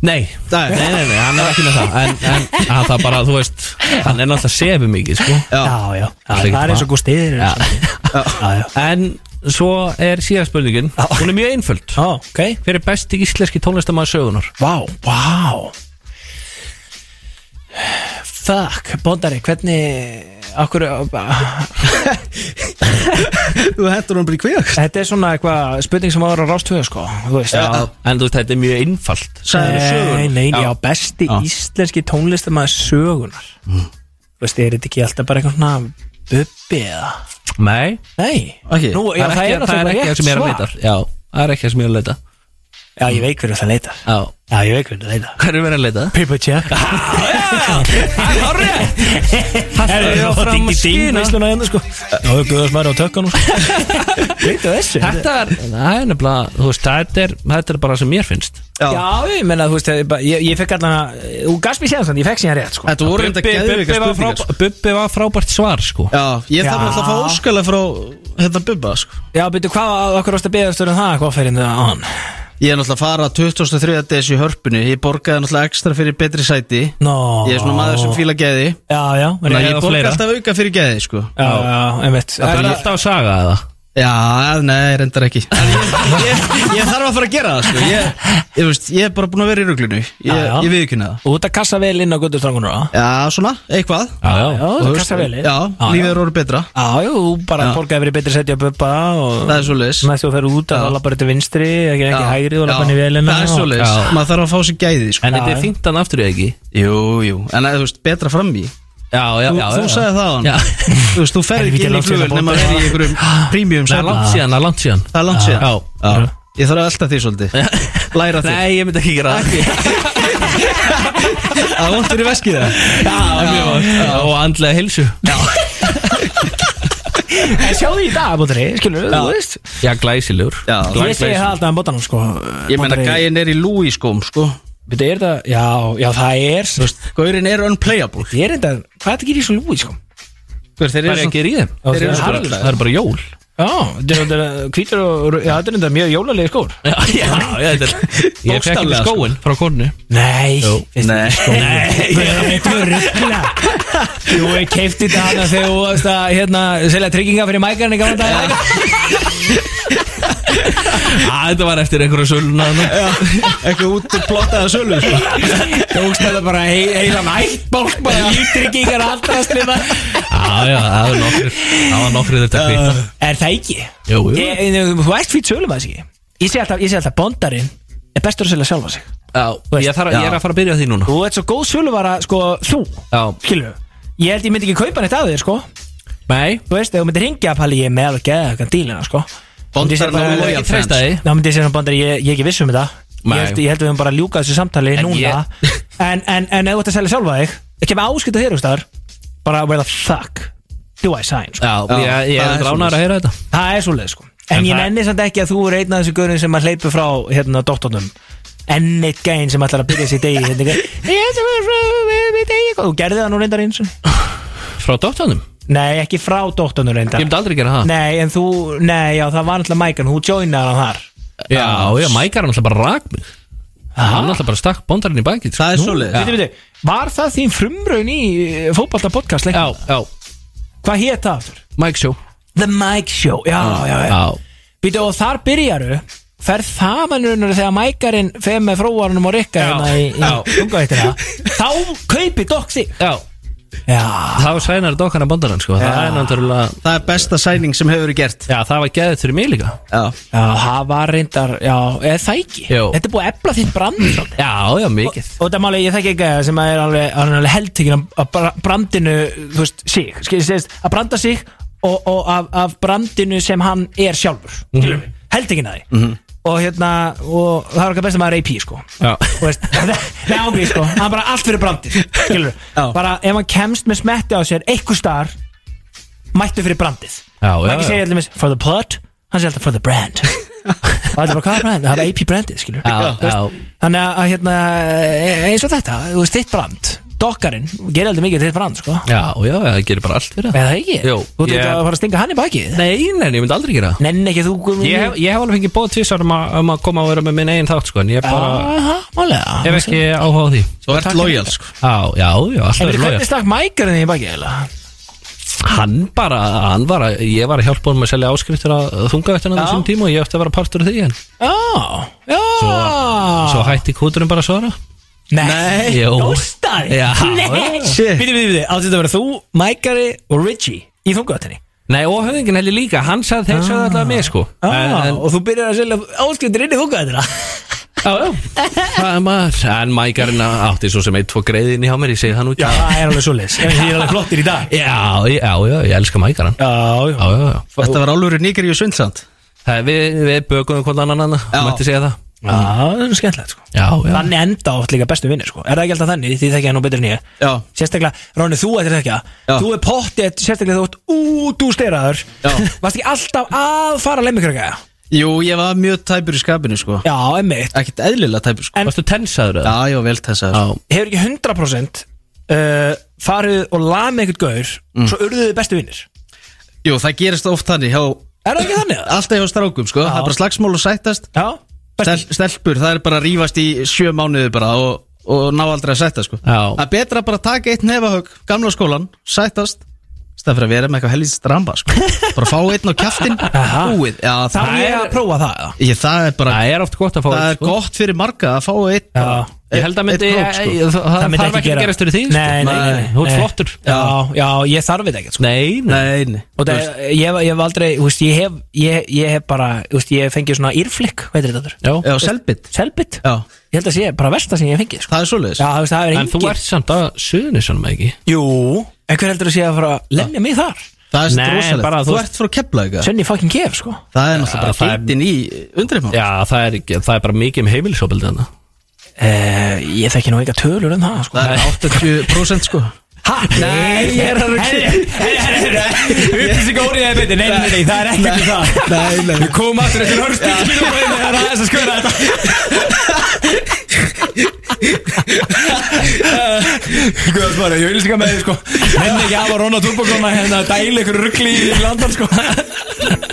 Nei, Nei. nei, nei, nei, hann er ekki með það En, (laughs) en að það bara, þú veist Hann er náttúrulega sefið mikið sko Já, já, já Það er Það er eins og bara- gústiðir Já. já, já En svo er síðan spurningin Já. Hún er mjög einföld Ó, ok Hver er besti íslenski tónlistamæður sögunar? Vá, vá Fuck, bóndari, hvernig Akkur Þú hendur hann bara í kvíak (laughs) Þetta er svona eitthvað spurning sem var á rástuðu sko Þú veist já. En þú veist, þetta er mjög einfalt Sæður Nei, sögur nei, já, besti íslenski tónlistamæður sögunar Þú veist, er þetta ekki alltaf bara eitthvað svona Bubbi eða Nei, Nei, Ok, Nú, já, það er ekki- það er náttúrulega ekki það rétt sem ég er að leita svar Já, það er ekki það sem ég er að leita Já, ég veit hverju það leitar Já, Já, ég veit hverju það leitar hver er verið að leita? Pippa (laughs) Jack Það er Já, að fram að skýna Ísluna hérna sko Já, Guðarsmæri á tökkanum (laughs) Leita þessu sko. Þetta er, það er nefnilega, þú veist, þetta er, þetta er bara sem mér finnst Já, ég menna, þú veist, ég, bara- ég, ég fekk allan að Þú gafst mér séðan, ég fekk síðan rétt, sko Þetta voru reynda Bubbi geðveika Bubbi var, spurningar sko. frábæ, Bubbi var frábært svar, sko Já, ég Já. þarf alltaf að fá óskalega frá Þetta bubba, sko Já, byrju, hvað, okkur ást að beða stöður en það, hvað fyrir þetta á hann? Ég er náttúrulega að fara 23. des í hörpunni Ég borgaði náttúrulega ekstra fyrir betri sæti Nó Ég er svona maður sem fíla geði Já, já, en ég Nei, Ég Eða borga fleira. alltaf auka fyrir geði, sko Já, já, einmitt Það er alltaf að saga eða Já, nei, reyndar (laughs) ekki En ég, ég, ég þarf að fara að gera það sko. ég, ég, veist, ég er bara búin að vera í ruglunu Ég, Já, já. ég viðkynna það Út að kassa vel inn á guttustrangunur, á? Já, svona, eitthvað Já, já, Já, Þú það veist, kassa vel inn Já, lífið er orðið betra Já, jú, þú bara Já. borgaði verið betri setja bubba og Það er svoleiðis Næstu að ferð út að Já. það lappa þetta vinstri, ekki, ekki Já, hægri og já. lappa henni velina Það er svoleiðis, Já. maður þarf að fá sér gæði sko. En þetta er fínt hann aftur eða ekki Jú, jú, en að, þú veist, betra fram í Já, já, Þú, já þú já. sagði það á hann Já. Þú veist, þú ferð Helvíti ekki inn í langt síðan flugul að nema að borga. vera í einhverjum prímjum (laughs) Það er langt síðan, það er langt síðan Það er langt Já. síðan Já. Ég þarf að elta því svolítið Læra því Nei, ég myndi ekki gera það Það vant fyrir veskið það Og andlega hilsu En sjáðu í dag, Bóttari, skilur, þú veist Já, glæsilegur Já. Ég segi það alltaf um Bóttanum, sko Ég meina, Bóndari- gæin er í Louis skóm, sko Bíddu, er þetta- Já, já, það er Þú veist, Gaurin er unplayable Ég er enda, hvað er þetta gerir í svo lúi, sko? Hver, Það Þeir er eru ekki svona í þeim Já, Þeir eru það er bara- harðlega. Það er bara jól Já, þetta er- þetta er hvítur og já, þetta er enda mjög jólalegi skór Já, já, já, þetta er Ég fekk ekki Bókstaflega, sko. skóin frá konu Nei, Nei. Þetta er ruggla Jú, ég keipti þetta hana þegar þú varst að hérna, selja trygginga fyrir mækarni gamla dag Á, Þetta var eftir einhverja söluna þarna. Ekki út og plottaða sölu sko. Tókst þetta bara hei- heila nætt bólk bara lítryggingar alltaf slina Já, já, það var nokkri Það var nokkri þetta kvita Er það ekki? Eh, Jú, jú. Ég- Þú ert fýtt sölum að þessi ekki Ég segi alltaf, ég segi alltaf bondarinn er bestur að selja sjálfa sig Já, ég, þarf, að- ég er að fara að byrja á því núna Þú ert svo góð söluvara, sko, þú Já. Skilu, ég held ég myndi ekki kaupa neitt af þér, sko Nei, Þú veist, ef þú myndir ringja að pali ég er með alveg geða eitthvað dílina, sko Myndi Bondar ég segja bara- no Ég er loyal ekki treysta friends. því Ná, myndi ég segja svona bandar, ég, ég er ekki viss um þetta Nei. ég held, ég held við höfum bara að ljúka þessu samtali En núna (laughs) en, en, en ef þú ert að selja sjálfa þig Ekki með áskipta þér, þú staðar Bara where the fuck do I sign, sko Já, ég, ég það er er dránaður að heyra þetta Það er svolítið, sko En En ég það- nenni samt ekki að þú er einn af þessu görin sem að hleypu frá, hérna, doktornum enn eitt gæinn sem ætlar að byrja sér degi hérna, Yes, we're from every day. þú gerði það nú reyndar eins og Frá doktornum? Nei, ekki frá doktornum Ég reyndar myndi aldrei gera það Nei, en þú, nei, já, það var náttúrulega Mækan, hún joinaði hann þar Já, já, Mike er alltaf bara rak mig Hann er alltaf bara stakk bondarinn í bakið sko. Það er Nú, svoleiðis. já. Viti, viti, var það þín frumraun í fótballta podcast Já, lengur? já, Hvað hétt það aftur? Mike Show The Mike Show, já, já, já, Já, Viti, og þar byrjaru Ferð það mannurinn þegar Mækarinn fer með fróarunum og rikka Já, hérna í, já. í ungavættina Þá kaupi dokk þig já Já, Það var sænar dokkana bondarinn, sko Það er náttúrulega Það er besta sæning sem hefur verið gert Já, það var geðið fyrir mig líka Já já, það var reyndar, já, eða það ekki Jó. Þetta er búið að efla þitt brand svolítið. Já, já, og, mikið og það máli ég þekki ekki sem að er alveg, hann er alveg heldtekinn af- af bra- brandinu, þú veist, sig skil, sést, að branda sig og, og af, af brandinu sem hann er sjálfur mm -hmm. heldtekinn að því og hérna, og það var eitthvað best að maður er AP sko, Já. Þú veist, (laughs) nei ángríð sko, hann er bara allt fyrir brandið skilur, Já. bara ef hann kemst með smetti á sér, einhver staðar mættu fyrir brandið Já, já, ekki já. segja allir for the plot, hann segja alltaf for the (laughs) brand og þetta er bara hvað er brand, það er AP brandið skilur Já, Þú veist, já. Þannig að, að hérna, e- eins og þetta, þú veist, þitt brand Dokkarinn, gerir aldrei mikið þitt brand, sko Já, já, já, það gerir bara allt fyrir Eða það ekki? Jú, Þú ert ég- ekki að fara að stinga hann í bakið Nei, nei, ég myndi aldrei gera það Nenn ekki þú guðmur Ég hef, ég hef alveg fengið bóð tvisar um, að- um að koma að vera með minn eigin þátt, sko En ég bara, Aha, málega hef ekki áhuga á því Þú ert loyal sko Já, já, já, alltaf En er við loja hvernig stakk mækarinn í bakið, eða? Hann bara, hann var að, ég var að hjálpa honum að selja áskriftir að Já. þungavættina þessum tíma og ég ætti að vera partur af því en Já, já svo hætti kúturinn bara að svara Nei, Jú. góstaði Já. Nei, Shit. býti, býti, býti, átti þetta að vera þú, mækari og Richie í þungaðatinni Nei, og höfðingin heldur líka, hann sagði þeir sagði alltaf mig sko en, ah, en, Og þú byrjar að selja áskriftir inn í þungaðatina á, (laughs) já, það er maður En mækarinn átti svo sem eitt, tvo greiðin í hjá mér, ég segi það nú ekki Það er alveg svoleiðis, ég er alveg flottir í dag Já, já, já, ég elska mækarinn Já, Já, já, já, já Þetta var álfur Nigeri og Svindsand Það, við, við bökum hvort annan annan, Já. mætti segja það Já, það er skemmtilegt sko Já, já, Þannig enda oft líka bestu vinnir sko Er það ekki alltaf þannig því þekkja hann nú betur en ég Já. Sérstaklega, Ráni, þú ættir þekkja Já. Þú er pottið, sérstaklega þú ert út úr steyraður Já. Varst ekki alltaf að fara lemmikröka Jú, ég var mjög tæpur í skapinu sko Já, emmitt Ekkert eðlilega tæpur sko En- varstu tensaður eða? Já, já, vel tessa Já, Hefur ekki 100% uh, farið og lamið eitthvað gaur Svo urðuð þið bestu vinnir Jú, það gerist oft þannig hjá Er það ekki þannig? Alltaf hjá strákum sko Það er bara slagsmál og sættast Já, bestu Stel, Stelpur, það er bara að rífast í sjö mánuði bara og, og ná aldrei að sætta sko Já. Það er betra bara að taka eitt nefahög Gamla skólan, sættast Það fyrir að vera með eitthvað helvítið dramba sko Bara fá einn á kjaftin Búið, já, Það það, var ég að prófa það eða? ég, það er bara það er oft gott að fá það eitt, er gott fyrir marga að fá einn Já. bara- Ég held að myndi, einn ég, krók, sko. ég, það, það myndi þarf ekki að gerast fyrir því sko. Nei, nei, nei, nei Þú ert nei. flottur Já, já, ég þarf þetta ekkert sko Nei, nei Nei, nei og það, ég, hef- ég hef aldrei, þú veist, ég hef ég, ég hef bara, þú veist, ég hef fengið svona írflikk, hvað heitir þetta þurr? Já. Já, selbit Selbit? Já, Ég held að sé bara versta sem ég hef fengið, sko. það er svoleiðis Já, þú veist, það er En þú engin ert samt að suðinu svona með ekki Jú, en hver heldur að sé að fara að lemja mig þar? Það er Nei, rosalegt bara Þú þú- ert frá Keflavík eða? Svenni fucking gef, sko Það er náttúrulega það bara er- geitin í undreifmál Já, það er, ekki- það er bara mikið um heimilisopildi þarna uh, Ég þekki nú eitthvað tölur um það, sko Það er 80% sko Ha? Nei, ég er að rugga Upplýsing órið eða beti, nei, nei, nei, það er ekkert um það Nei, nei Við komum aftur eftir hörnstíðsmínum og það er aðeins að skvöra þetta Guð að svara, ég vil sika með þið sko Menn ekki af að Rona Turbokona hérna að dæla ykkur ruggli í landan sko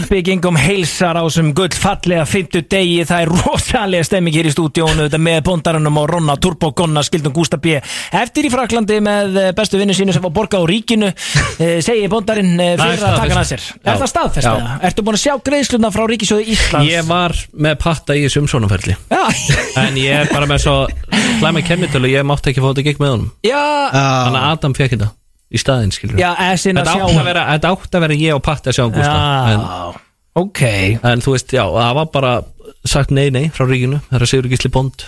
Bygging um heilsar á sem gull fallega 50 degi Það er rosalega stemming hér í stúdíónu Þetta með bóndarunum og Rona Turbokona skildum Gústa B Eftir í Fraklandi með eh, bestu vinnu sínu sem var borga á ríkinu eh, Segir bóndarinn eh, Það er fyrir að taka hann að staðfest. sér Er Já. það staðfest Já. eða? Ertu búin að sjá greiðsluna frá Ríkisjóði Íslands? Ég var með patta í þessu umsónaferli Já, (laughs) En ég er bara með svo slæma kemmitölu Ég mátti ekki fá þetta gikk með honum já, Þannig að Adam fekk þetta í staðinn skilur já, essin að Þetta sjá átti að, vera, þetta átti að vera ég og Patti að sjá um Gústa Já. en Ok En þú veist, já, það var bara sagt nei, nei frá ríkinu Það er að Sigur Gísli Bond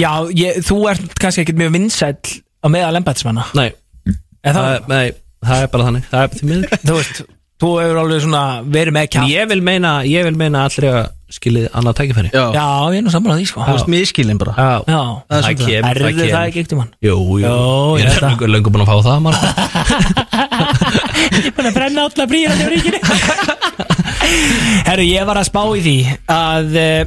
Já, ég, þú ert kannski ekkert mjög vinsæll á meðal embætismanna Nei, En það, það, nei, það er bara þannig Það er bara því miður þú veist, þú hefur alveg svona verið með kjátt Ég vil meina, ég vil meina allir að skilið annað tækifæri Já, Já, ég er nú saman að því sko þú veist miskilin bara Já, Já, það, er svolítið. kemur, erðu kemur það ekki ekkert um hann Jú, jú, Jó, ég ég er veit það. löngu, löngu búin að fá það marga. Ég er búin að brenna allar brýrandi á ríkinu (laughs) Herru, ég var að spá í því að eh,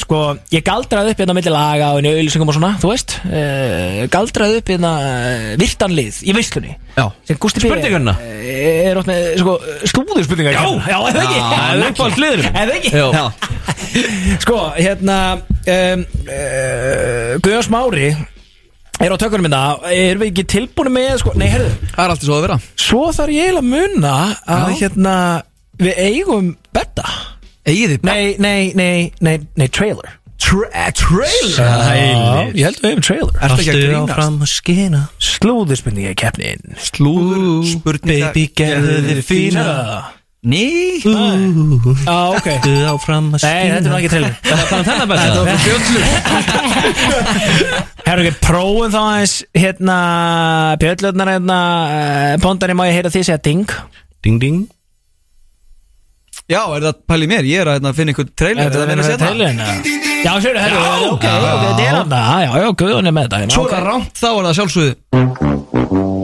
Sko, ég galdraði upp hérna á milli laga og auðlýsingum og svona, þú veist uh, Galdraði upp hérna eh, virtanlið í veislunni Já. Sem Gústi Byrja Spurningarna? Er ótt með, sko, slúður spurningar Já. já, eða ekki Já, það er uppáhalds liðurinn. Eða ekki Jú. Já. Sko, hérna um, uh, Guðjós Mári er á tökunum minna Erum við ekki tilbúinu með, sko, nei, herru Það er alltaf svo að vera Svo þarf ég eiginlega að muna að hérna við eigum betta Egið þið Nei, nei, nei, nei, nei, trailer tra Trailer Já, ég held við eigum trailer Ertu ekki að grínast? áfram að skina Slúðurspurninga keppnin Slúður spurningar baby, gerðu þig fína. Ný Já, Ah, ok Ertu áfram að Nei, þetta er nú ekki trailer (laughs) Það er bara þennan besta Það var fjöldlu Herru, ok, prófum þá aðeins hérna Björnlöfnar hérna eh, Bondari má ég heyra því segja ding Ding, ding Já, er það pælið mér? Ég er að hérna, finna einhvern trailer Þetta að er setja. trailerina Já, sér, herru, ok, ok, Já. þetta er hann Já, já, já, Guðun er með þetta hérna, Svo er ok. það rámt, þá er það sjálfsögðu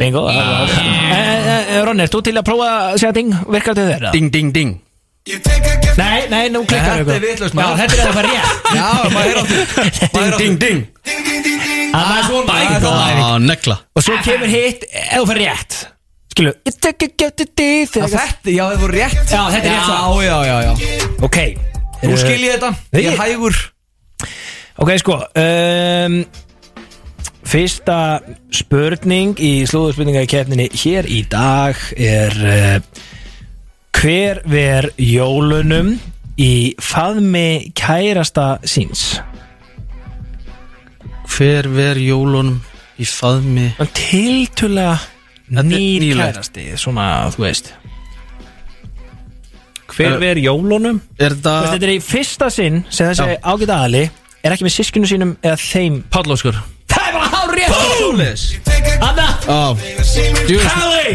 Bingo yeah. Ronni, ert þú til að prófa að segja ding? Virkar þetta þér? Ding, ding, ding Nei, nei, nú klikkar Þetta er vitlaust, Já, maður. þetta er að fara rétt Já, maður er áttu (laughs) Ding, ding, ding Það er svona Það er það er það Negla Og svo kemur hitt ef þú fara rétt Skilu Ég tek ekki eftir því þegar Þetta, já, það voru rétt Já, þetta er rétt svar. Já, já, já, já Ok Nú skil ég þetta Ég Nei. er hægur Ok, sko um, Fyrsta spurning í slúðurspurningakeppninni hér í dag er uh, Hver ver jólunum í faðmi kærasta síns? Hver ver jólunum í faðmi Hann tiltulega Þetta er nýr nýlegt. kærasti Svona, þú veist Hver verð jólunum? Er Þú veist, það Þetta er í fyrsta sinn sem þessi ágæta aðli Er ekki með sískinu sínum eða þeim Páll Óskar Það er bara hár rétt Jólis Anna, Á Kali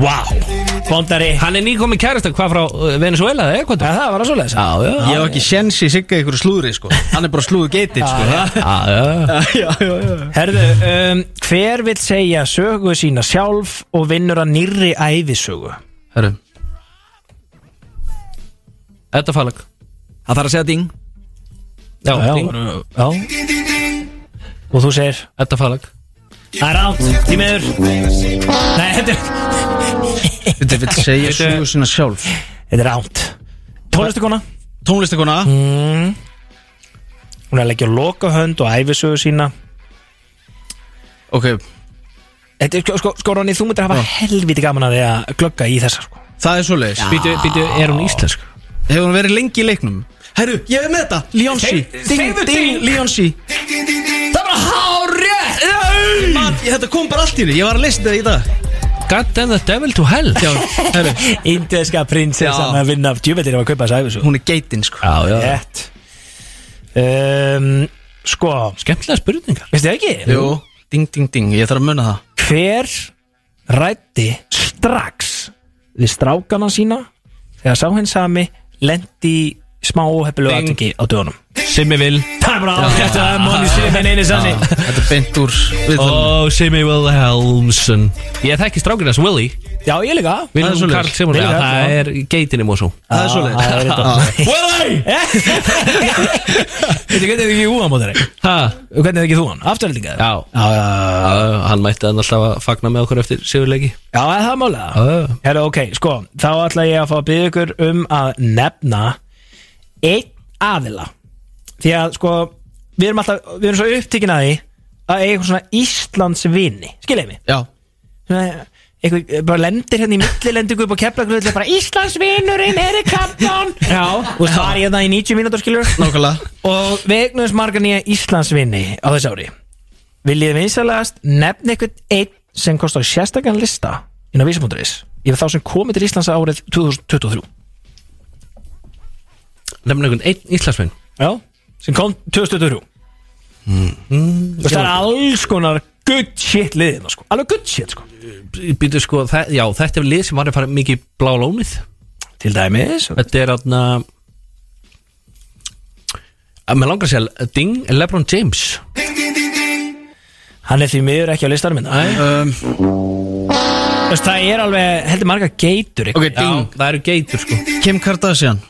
Vá, bóndari Hann er nýkomin kærasta hvað frá uh, Venezuela eða eitthvað Það var að svoleiðis Já, já, Ég hef ekki sjens í sigga ykkur slúðri, sko Hann er bara slúðu geitin, sko já, (laughs) já. Já, já, já Herðu, um, hver vill segja sögu sína sjálf og vinnur að nýrri ævisögu? Hörru Þetta falag Það þarf að segja ding Já, Já, ding. já Og þú segir Þetta falag Það er rátt, tímiður Nei, þetta er Þetta vil segja sögu sína sjálf Þetta er ránt Tónlistakona Tónlistakona Hún er að leggja lokahönd og æfisögu sína Ok Þetta er sko, sko, sko Ronny, þú myndir hafa helviti gaman að því að glögga í þessa sko. Það er svoleiðis Býtu, býtu, er hún íslensk? Hefur hún verið lengi í leiknum? Herru, ég er með þetta Leonsi Seg- Ding, segðu ding, ding. Leonsi Það er bara hárið Man, ég- Þetta kom bara allt í því Ég var að leysa þetta í dag God damn the devil to hell Já, herru Indiska prinsessan Já. að vinna af djúvetir ef að kaupa þessu æfisögu Hún er geitin, sko Já, já, Rétt um, Sko, skemmtilega spurningar veistu það ekki? Jú Ding, ding, ding Ég þarf að munna það Hver rætti strax við strákana sína þegar sá henn sami lendi í smá hefnilega Ding. aðtengi á dögunum Simmi vil Það er bara ágætt að Móni Sýrfinn einu sannig Ah, Þetta er beint úr viðtölum. Ó, Simmi Wilhelmsson Ég þekki strákinn hans Willy Já, ég líka Wilhelm svoleiðis. Karl Simon Willy Já, Karl, Það já. er geitin í Mosó Ah, Það er Það er þetta. svoleiðis Willy! (laughs) Veitu, hvernig er það ekki úan mótari? Ha, Hvernig er það ekki þú hann? Afturlendinga? já Já, já, já. Uh, hann mætti hann alltaf að fagna með okkur eftir sigurleiki Já, er það málega. uh. Herra, ok, sko, þá ætla ég að fá að byggja ykkur um að nefna einn aðila. Því að, sko, við erum alltaf, við erum svo upptíkin að því að eiga eitthvað svona Íslands vini. Skiljaði mig? Já Svona, eitthvað, bara lendir hérna í millilendingu upp á keflagröðlega bara Íslands vinurinn er í kappan. Já. Og það var ég það hérna í 90 mínútur, skiljur. Nákvæmlega Og við eignumst marga nýja Íslandsvinni á þessu ári Viljið vinsalegast nefna eitthvað einn sem kostar sérstakann lista inn á vísamóturis yfir þá sem komið til Íslands árið 2023 nefnir einhvern einn íslensminn Já, sem kom 2023 mm. Það er alls konar good shit liðina sko Alveg good shit sko Býtu sko, það, já, þetta er lið sem var að fara mikið í blá lónið Til dæmis Þetta er aðna að Mér langar að segja Ding Lebron James Hann er því miður ekki á listanum hérna. minna um, Þess, Það er alveg, heldur marga geitur Ok, okay. ding Það eru geitur sko Kim Kardashian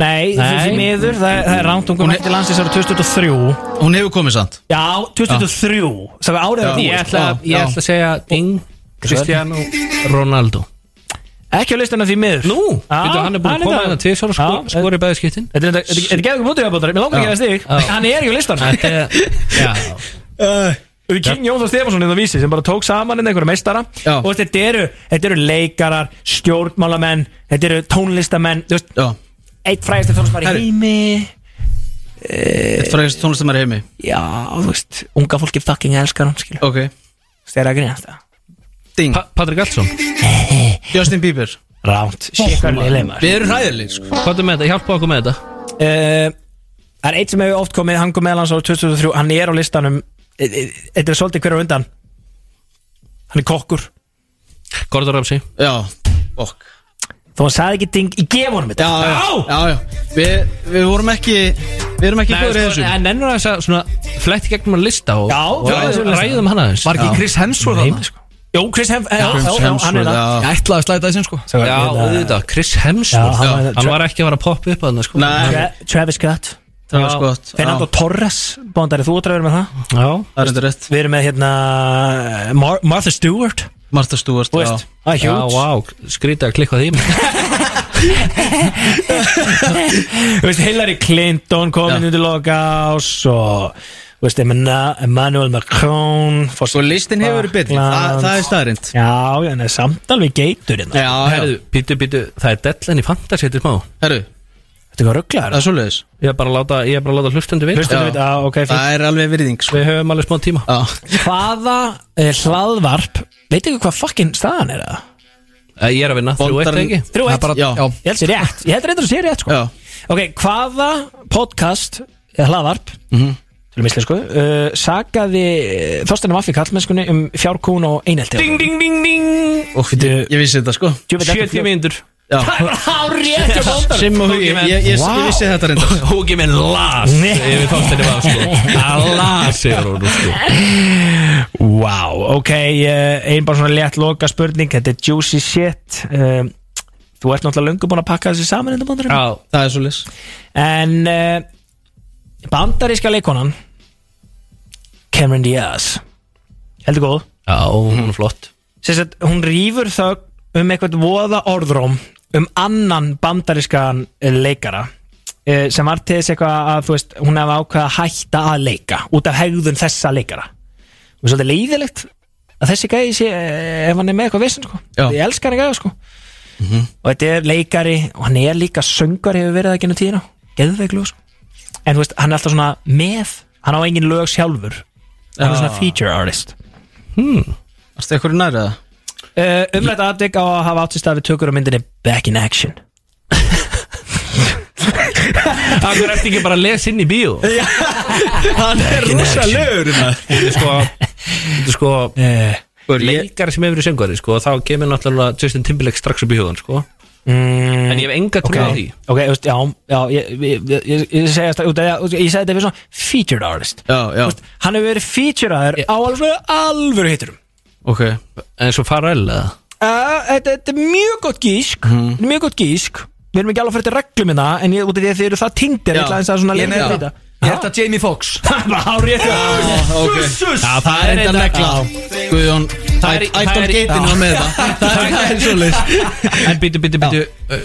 Nei, Nei, því Nei. miður, það, það er rámt Hún kom hætti landsins ára 2023 Hún hefur komið sant Já, 2023 Það var árið að Ég búið ætla, sko. ég já. ætla að segja Ding Cristiano Ronaldo Ekki á listanum því miður Nú, Já, býtu, hann er búin að koma það. hérna til Sjóra sko, Já, skori bæði skiptin Þetta er- þetta- þetta er geðvægur mútið að bóta Mér langar ekki að stig Já. Hann er ekki á listanum Þetta er (laughs) Já Við kynni Jón Þór Stefánsson í það vísi sem bara tók saman hérna einhverja meistara Já. og þetta eru, þetta eru leikarar, stjórnmálamenn þetta eru tónlistamenn þú veist, Já eitt frægasti tónlistamæri Herri. heimi Eitt fræðist tónlistamæri heimi já, þú veist, unga fólki fucking elskar hann, skilu, Ok þegar að grínast það Ding Pa- Patrik Allsson Justin Bieber ránt, sékar leilema Við erum ræðileg sko Hvað er með þetta? Hjálpa okkur með þetta Eh, það er eitt sem hefur oft komið hann kom meðal hans ára 2003, hann er á listanum Eh, eh, þetta er svolítið hverja undan hann er kokkur Gordon Ramsay Já Bokk þó hann sagði ekki ding, ég gef honum Já, þetta já, já, já. Við, við vorum ekki Við erum ekki góður í þessu sko, En ennur þess að svona flætti gegnum að lista og, Já, og flætti gegnum ræðum, lista. ræðum hana aðeins Var ekki Já. Chris Hemsworth Nei, þarna? sko. Jú, Chris Hemsworth já, James já, já, hann er Hemsworth, það Ég já. ætlaði að slæta þessin sko Já, auðvitað, Chris Hemsworth Já, hann var- Hann var ekki að vera að poppa upp að hann sko Nei, Tra Travis Scott það var skott Fernando Torres Bóndari, þú ert að vera með það Já Það er enda rétt Við erum með hérna Mar Martha Stewart Martha Stewart Þú já. veist, það er Já, hjúts vá, skrítið að klikka því Þú veist, Hillary Clinton kom inn undir lokás og þú veist, Emma- Emmanuel Macron Svo sko, listin hefur verið betri Þa, Frakkland. Það er staðrind Já, en það er samt alveg geitur hérna Já, Herðu, pítu, pítu, það er dellan í fantasy Þetta er smá herru Þetta er hvað Það rugglaður er svoleiðis Ég er bara að láta, ég er bara að láta hlustendu við Hlustu Já. þetta, ok, fyrir Það er alveg virðing sko Við höfum alveg smá tíma Já Hvaða eh, hlaðvarp Veit ekki hvað fucking staðan er það? Eh, Ég er að vinna, þrjú eitt Bondar- ekki Þrjú Það er eitt bara- Já. Ég held sér rétt, ég held reyndar að sér rétt sko Já Ok, hvaða podcast eða hlaðvarp til misli sko uh, sagaði uh, Þorsteinu Vaffi kallmennskunni um fjárkún og einelti Ding, ding, ding, ding Og ég vissi þetta sko 70 mínútur Já Það var hár rétt hjá bóndar Sim og hugi Ég, ég, ég, ég vissi þetta reynda Húki minn las Nei. Yfir tókstinni var sko Að las yfir hún sko Vá, ok, uh, ein bara svona létt loka spurning, þetta er juicy shit uh, Þú ert náttúrulega löngu búin að pakka þessi saman þetta bóndar Já Það er svoleiðis En uh, bandaríska leikonan Cameron Diaz Heldur góð Já, hún er flott sem sagt, hún rýfur þögn um eitthvað voða orðróm um annan bandarískan eh, leikara eh, sem var til þess eitthvað að þú veist, hún hefði ákveða að hætta að leika út af hegðun þessa leikara og svolítið leiðilegt að þessi gæði sé, eh, ef hann er með eitthvað vissin sko, Já. ég elskar hann gæði sko og þetta er leikari og hann er líka söngar hefur verið það genið tíðina geðveiklu sko en þú veist, hann er alltaf svona með hann á engin lög sjálfur hann er svona feature artist Erstu eitthvað nærið það? Uh, umrætt aðdegg á að hafa átt sér stað við tökur á myndinni Back in Action Það er eftir ekki bara að lesa inn í bíó Þetta Hann er rosa lögur er sko Þetta er sko uh, Leikari sem hefur verið söngari sko Þá kemur náttúrulega Justin Timberlake strax upp í hugan sko mm, En ég hef enga trú á því Ok, þú veist, já, já ég, ég, ég, ég, ég segja þetta út af því að- Ég segi þetta við svona featured artist Já, já Þú veist, Hann hefur verið featureaður á alveg alvöru hitturum Ok En svo Farrell eða uh, þetta, þetta er mjög gott gísk Mhm. Þetta er Mjög gott gísk Við erum ekki alveg fyrir þetta reglum minna En ég, út af því að þið eru það tindir Já. Ég ætla aðeins að svona Ég leiða meina- þetta Ég ætla Jamie Fox (laughs) Hárið ok. Sussus Já, það er enda negla á Guðjón Það er- það Ættan er- geitin já. var með það Það er svoleiðis En býtu, býtu, býtu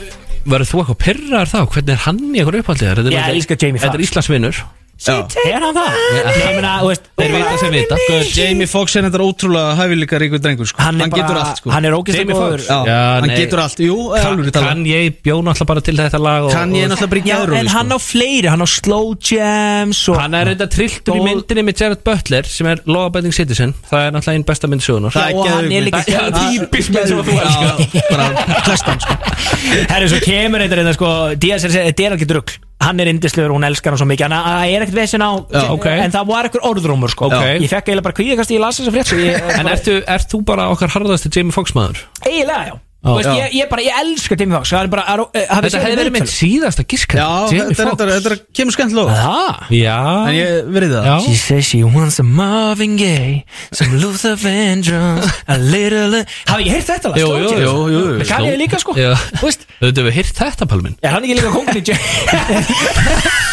Verður þú eitthvað perrar þá? Hvernig er hann í eitthvað uppaldið? Þetta er Ég náttúrulega- elska Jamie Þetta er Foxx. Íslandsvinnur Já Er hann það? Nei, ég meina, þú veist Þeir vita sem vita Guð, Jamie Foxx er þetta ótrúlega hæfileika ríkur drengur sko. Hann er bara- getur allt sko. hann er ógeðslega Jamie Foxx. góður. Já, Já, Hann nei. getur allt, jú, alveg tala Kann ég bjóna alltaf bara til þetta lag og- Kann ég og- náttúrulega sko. bara í Já, en geðróli hann á fleiri, hann á slow jams og Hann er reynda trilltur í Góð- myndinni með Gerard Butler sem er Law Abiding Citizen Það er náttúrulega einn besta mynd sögunar Það Já, og hann er geðveikur. líka (laughs) Það- geðveikur. Típisk menn sem að þú Já, Bara flestan sko hérna, Herri, svo kemur þetta reynda sko Díaz er að segja, þetta er ekki drugg hann er indislegur, hún elskar hann svo mikið en það er ekkert vesen á Já, ok. en það var ekkur orðrúmur sko Ok. ég fekk eiginlega bara kvíðakast ég las þess að frétt svo ég, En ertu, ert þú bara okkar harðasti Jamie Foxx maður? eiginlega já Já. Þú veist, Já. ég, ég bara, ég elska Timmy Fox það er bara, að, að, að, Þetta hefði verið mitt síðasta gíska Já, þetta, þetta, þetta er- kemur skemmt lóð Það? Já En ég verið það She says she wants a Marvin Gaye (laughs) Some Luther Vandross A little Hafði ég heyrt þetta lag? Jú, jú, jú, jú, jú. Með Kanye líka sko Já. Þú veist Þetta hefur hýrt þetta palmin Er hann ekki líka kongurinn í Django?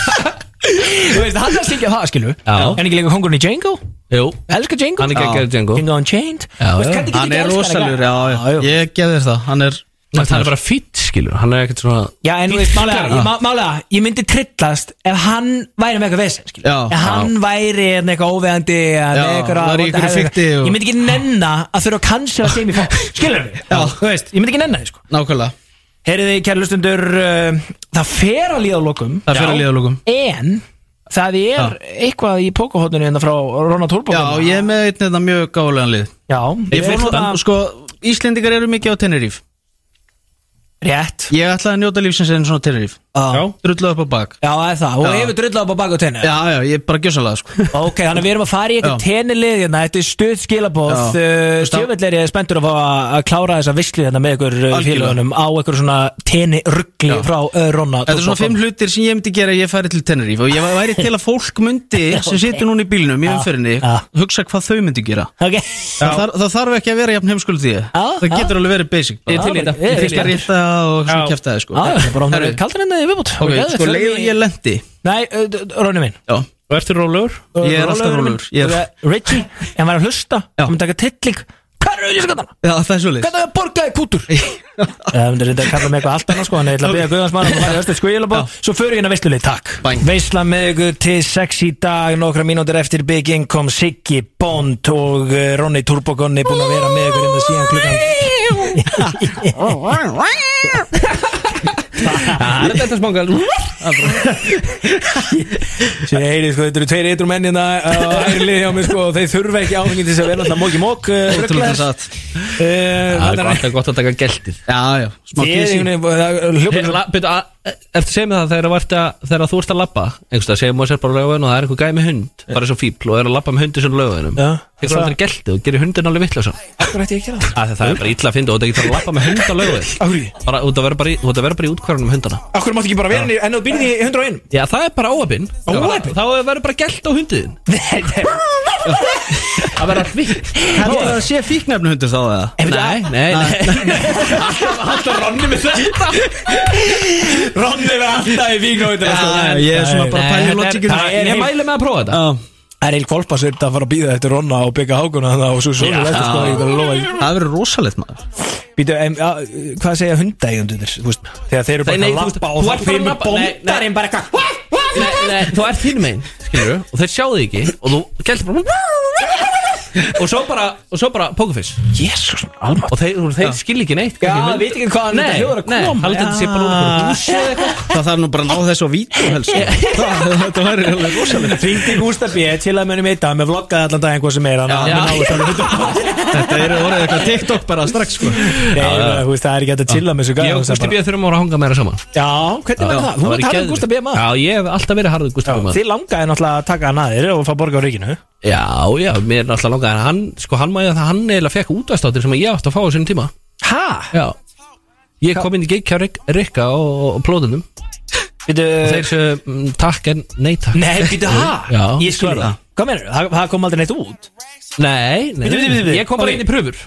Þú veist, hann er slikjað það, skilu Já. Er ekki líka kongurinn í Django? Jú Elskar Django? Hann er geggjaður í Django. King Unchained Þú veist, hvernig getur Hann ekki er elskað rosalur, þetta? já, já, ég geði þér það Hann er Það er bara fýtt skilur Hann er ekkert svona Já, en þú veist, málega, Já. ég, má- málega, ég myndi trillast ef hann væri með eitthvað vesen, skilur. Já. ef hann væri hérna eitthvað óvegandi, Já, væri í einhverju fikti og- Ég myndi ekki nenna að þurfa að cancela Jamie Foxx, skilur við? Já. Þú veist, ég myndi ekki nenna þið, sko. Nákvæmlega Heyriði, kæri lustundur, uh, það fer að líða á lokum. Það fer að líða að lokum. En það er eitthvað í pókahotninu hérna frá Ronald Holborg. Já, ég er með einn þetta mjög gálegan lið Já, Ég fór nú það- sko, Íslendingar eru mikið á Tenerife Rétt Ég ætlaði að njóta lífsins einn svona Tenerife Já Drulluð upp á bak Já, það er það, og Já. hefur drullað upp á baku tenni Já, já, ég bara gjössalega sko Ok, þannig að við erum að fara í eitthvað Já. tennilið hérna, þetta er stuð skilabóð Já. Veist það- Stjöfell er ég spenntur að fá að að klára þessa vislu hérna með ykkur Algjörlega. félagunum á ykkur svona tenni ruggli Já. frá uh, Ronna Þetta er svona fimm Tórsson. hlutir sem ég myndi gera ef ég færi til Tenerife og ég væri til að fólk myndi sem situr núna í bílnum í Já, umferinni já. hugsa hvað þau myndi gera Ok, það, þar, það þarf ekki að vera jafn heimskuld því það já. getur alveg verið basic Ég bara. er til í þetta. Ég til í að rita og Já. kæfta það sko Já, það er bara Herru, hún kaldan hérna henni viðbútt ok, sko leiðu ég lendi Nei, uh, d- d- Ronni minn já, Og ertu rólegur? ég er alltaf Rólegur minn. rólegur ég er, Uh, Richie, ef hann var að hlusta, hann myndi taka tilling Hvað eru auðvitað já, það er svo Hvernig að borgaði kútur? Það myndir reynda að kalla mig eitthvað allt annað sko En ég ætla að byggja Guðansmann að fara í östu skvílabóð Svo förum við hérna veistlulið, takk Bang. Veisla með ykkur til sex í dag Nokkra mínútur eftir bygging kom Siggi Bond Og eh, Ronny Turbogonni búin að vera með ykkur Inna síðan klukkan Það er þetta smangal Svo ég heyri sko, þetta eru tveir eitrum mennina Og hægri liði hjá mig sko og Þeir þurfa ekki áfengið til þess að vera alltaf móki mók Ótrúlega satt Það er eh, Þannig að alltaf gott að taka geltið já, já, smá Ég er kísi einhvern veginn Hey, hljópa la- byrju, a- e- Ertu að segja mig það þegar, að vartu að- þegar að þú ert að labba einhverstað, segjum maður sér bara á lögun og það er einhver gæmi hund bara svo fíbl og er að labba með hundi sem lögunum Já. Þegar það er geltið og gerir hundin alveg um. vittlega Akkur ætti ég ekki að gera það? Það er bara illa að finna og það getur að labba með hund á (laughs) lögun Akkur, bara, þú ert að vera bara í, þú ert að vera bara í útkvarðanum hundana akkur máttu ekki bara vera henni En þú býrði í 101 Já, það er bara óöpinn Óheppin? Þá verður bara gælt á hundiðin Það verður allt vitt heldur það að sé fíknefni hundur þá eða Nei, nei, nei Alltaf ronni með þetta Ronni verður alltaf í víknóðinu sko. Já, já, ég er svona bara að pæla í logíkinu. Ég mæli með að prófa þetta Já. Það er eil kvolpasvirt að fara að býða eftir Ronna og byggja hákuna þannig og svo svo Já. eftir sko ég þarf að lofa því. það verður rosalegt maður Býtu, em, ja, hvað segja hundægjundir þegar þeir eru Nei, bara nei, að þú veist, lappa og þú ert það bara að kemur labba- nei, nei. bóndarinn bara eitthvað Nei, nei, þú ert hinn megin skilur, og þeir sjá þig ekki og þú gælti bara og svo bara, og svo bara pókerfis Jésús, alma og þeir, og þeir skilja ekki neitt Já, hvernig það hund- veit ekki hvaðan Nei, þetta hljóður að nei, koma haldið þetta sé bara úr einhverju húsi eða eitthvað. það þarf nú bara að ná þessu á (laughs) vítum helst Það- þetta verður alveg rosalegt Ringdi Gústa B til að mönum eitt að með vloggaði allan daginn hvað sem er hann Já. þetta eru orðið eitthvað TikTok bara strax sko Það er ekki hægt að chilla með þessu Ég gæða og Gústi B þurfum að vera að hanga meira saman Já, hvernig var það? Þú var talað um Gústa B maður Já, ég hef alltaf verið harður Gústi Já, B maður Þið langaði náttúrulega að taka hann að þér og fá borga á ríkinu Já, já, mér er náttúrulega langað En hann, sko, hann mæði að það hann eiginlega fekk útastáttir sem ég átti að fá á sinni tíma Hæ? Já Ég kom inn í gig hjá Rik- Rikka og, og plóðunum Býtu Þeir sem mm, takk en nei takk Nei, býtu hæ? (laughs) Já, Ég skil svara. það Hvað mennur? Það það kom aldrei neitt út Nei, Bíddu, nei, bíddu, bíddu, bíddu. Ég kom Ok. bara inn í pröfur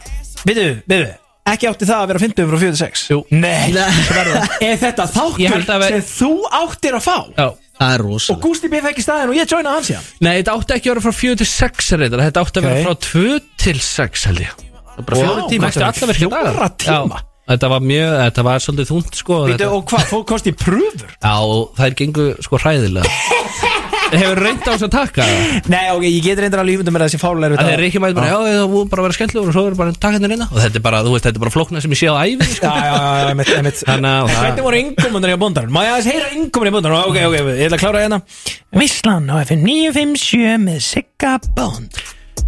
Býtu, býtu Ekki átti það að vera 50 frá 46 Jú. Nei, (laughs) Er þetta Ég þáttur held að við- sem þú áttir að fá? Já það er Og rosalegt Gústi B fekk í staðin og ég joina hans síðan Nei, þetta átti ekki að vera frá 4 til 6 reyndar Þetta átti Ok. að vera frá 2 til 6 held ég Bara fjóra tíma Mætti alla verkja daga. Fjóra tíma Já, Þetta var mjög, þetta var svolítið þúnt sko Býtu, þetta- og hvað, fólk kosti í pröfur? Já, og þær gengu sko hræðilega Hefur reynd á þess að taka það (laughs) Nei, ok, ég get reyndar alveg ímynda með þessi fálulegur Það er ekki mætt bara, já, það voru bara að vera skemmtilegur og svo eru bara takkarnir reyna og þetta er bara, þú veist, þetta er bara flóknar sem ég sé á ævi sko. Já, já, já, já, einmitt, einmitt Þannig að- Hvernig voru innkomunar í bóndarinn? Má ég aðeins heyra innkomunar í bóndarinn? Ok, ok, ég ætla að klára hérna Visslan á FM 957 með Sigga Bond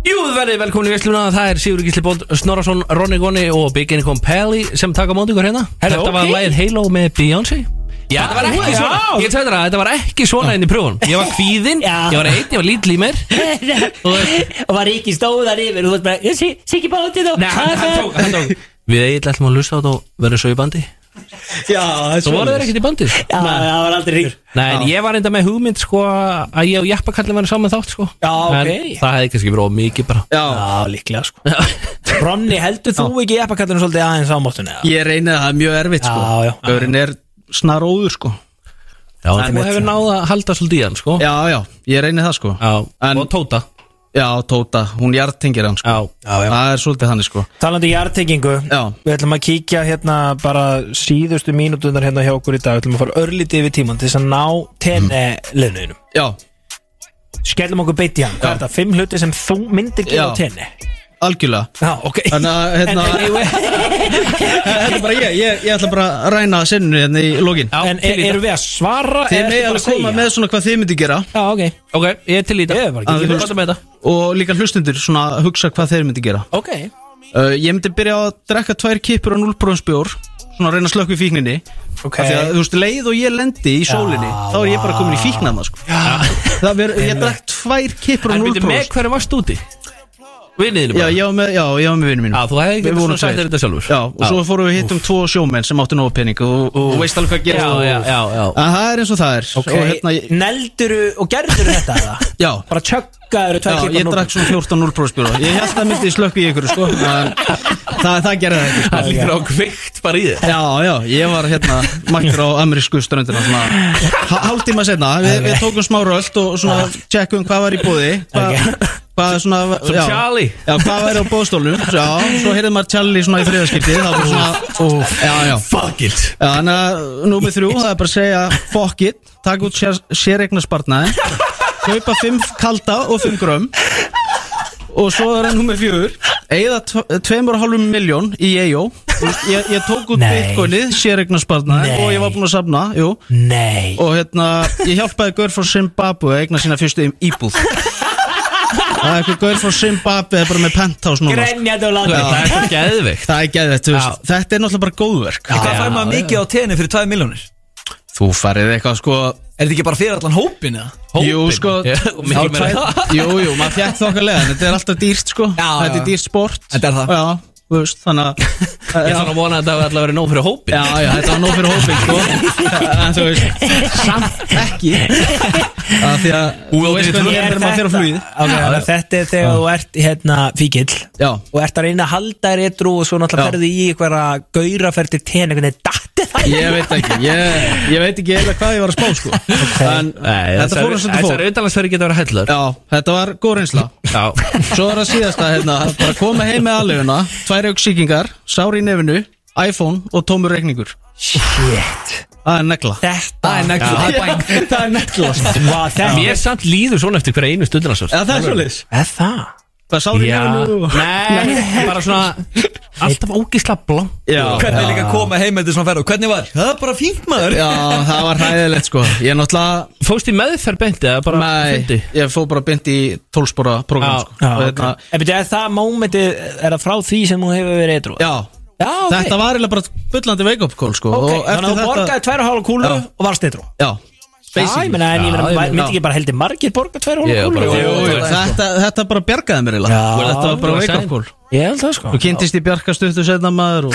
Jú, þið verðið velkomin í Vestluna, það er Sigur Gísli Bónd, Snorarsson, Ronny Gonni og Big Income Pally sem taka á móti ykkur hérna Herra, Þetta var ok. lagið Halo með Beyoncé Já, þetta var ekki Já. svona Ég tegði það, þetta var ekki svona inn í pröfunum Ég var kvíðinn, ég var einn, ég var lítill í (laughs) mér og var ekki stóðar yfir og þú veist bara, "Sí- Siggi bátið og Nei, hann- hann tók- hann tók. Við eiginlega ætlum að hlusta á þetta og verðum svo í bandi Já, það er Svo voru þeir ekkert í bandi sko. Já, það var aldrei ríkur Nei, en ég var enda með hugmynd sko að ég og Jeppakallin varum saman þátt sko Já, ok. Það hefði kannski verið of mikið bara Já, líklega sko Ronni, heldur þú ekki eppakallinu svolítið aðeins á móttun eða? Ég reyni það, það er mjög erfitt Já, já. sko Örin er snar óður sko (laughs) Já, þú En mitt. hefur náða að halda svolítið í hann sko Já, já, ég reyni það sko Já, en, og Tóta Já, Tóta, hún jartengir hann sko Já, já, já. Það er svolítið hann sko Talandi jartengingu, Já. við ætlum að kíkja hérna bara síðustu mínútunar hérna hjá okkur í dag, við ætlum að fara örlítið yfir tíman til þess að ná tenni liðnöðinum Já, Skellum okkur beint í hann, hvað er þetta? Fimm hluti sem þú myndir gera Já. tenni algjörlega Já, ok Þannig að, hérna, En- en- (laughs) þetta er bara ég, ég, ég ætla bara að ræna sinninu hérna í lokin En er, erum við að svara? Þið eða með ertu bara alveg koma segja? með svona hvað þið myndi gera Já, ok Ok, ég er til í þetta Ég er bara ekki- Að Ég þú er bara með þetta Og líka hlustundur svona að hugsa hvað þeir myndi gera Ok uh, Ég myndi byrja að drekka tvær kippur á núlbróðsbjór Svona að reyna að slökka í fíkninni Ok. okay. Því að þú veist leið og ég lendi í sólinni Þá er ég bara komin í fíknana sko. Það verður, ég drekk tvær kippur á En byrju, með núlbróðs hverju varst úti? Vinniðinu Já, bara ég var með, já, ég var með vinnum mínum Já, þú hefði Við ekki vorum svona sagt tveir. þér þetta sjálfur Ah. Já, og svo fórum við hittum tvo sjómenn sem áttu nógu pening og, og, og veist alveg hvað gerist Já, og- já, já, já. En það er eins og það er Ok, og, hérna, ég- nelduru og gerðuru þetta eða? (laughs) Já, Bara tjöggaður Já, tvær klippar ég drakk svona 14 núlbróðsbjóra Ég held að myndi slökku í ykkur sko. en það, það gerði það ekki sko. Það líkur á kvikt bara í þér Já, já, ég var hérna makkur á amerísku ströndina svona Hálftíma senna, við, við tókum smá röld og svona Ah. tjekkum hvað var í bóði Hvað, hvað svona Svo já, Charlie. Já, hvað væri á bóðstólnum Já, svo heyrði maður Charlie svona í þriðaskipti Það var svona, já, já Fuck it Já, þannig að númið þrjú, það er bara að segja fuck it, takk út sér, séregnarspartnaði kaupa fimm kalda og fimm grömm og svo er það númið fjögur eigða tve- tveimur og hálfum miljón í E EIO ég, ég tók út Nei. bitcoinið, séregnarspartnaði Nei. og ég var búinn að safna, jú Nei og hérna, ég hjálpaði gaur frá Zimbabwe að eigna sína fyrstu íbúð það er eitthvað gaur frá Zimbabwe það er bara með penthouse núna sko. Grenjandi og láta Það er svo geðveikt það er geðvett, þetta er náttúrulega bara góðverk Hvað fær maður mikið á tenni fyrir 2 miljónir? þú farið eitthvað sko Er þetta ekki bara fyrir allan hópin eða? Jú, sko Já, og miklu þá meira. tvær- (laughs) Jú, jú, maður fjæk þokkalega En þetta er alltaf dýrt, sko Já, já, já. Þetta er dýrt sport Þetta er það. Já, þú veist, þannig að Ég er Já, svona að vona að þetta var alltaf verið nóg fyrir hópin já, já, þetta var nóg fyrir hópin, sko En þú veist, samt ekki að Því að Þú veist hvernig er þegar maður fyrir á flugið Ok, þannig að Þetta er þegar þú ert hérna fíkil Já, og ert að reyna að halda þér etru og svo náttúrulega Já. ferði í einhverja gauraferdi ten einhvern veginn datti það ég veit ekki Ég, ég veit ekki eða hvað ég var að spá, sko En þetta fór að setja Þessar fór auðvitaðlagsferði geta verið hellar Já, þetta var góð reynsla Já Svo er það síðasta hérna Bara koma heim með aðleguna Tvær auksíkingar, sár í nefinu iPhone og tómur reikningur Shit Það er negla Þetta er nekla Það er negla sko. (laughs) Mér samt líður svona eftir hverja einu stundinarsvörð Það er svolítið Er það? Hvað sár í Já nefinu og- Nei, bara svona Alltaf ógisla blank Já Hvernig er líka að koma heim með þetta svona ferð og hvernig var? Það er bara fínt maður Já, það var hæðilegt sko Ég er náttúrulega Fóst í meðferð beinti eða bara Nei, fundi? ég fór bara beint í tólspora program Já, sko. Já, Og ok hérna- En byrja, er það mómentið, er það frá því sem þú hefur verið etru? Já, Já, ok þetta var eiginlega bara bullandi wake-up call sko Ok, Og eftir þannig að þú þetta- borgaði tværa hálfa kúlu Já. og varst etru Já, Já, ég meina, en ég meina, Já, ég meina- myndi ekki bara heldur margir borga tværa hálfa Ég var kúlu bara- Jú, jú, sko. þetta, þetta bara bjargaði mér eiginlega Já. Þetta var bara Já, wake-up sæl. call Ég held það sko Þú kynntist í Bjarka stuttu setna maður (laughs) og,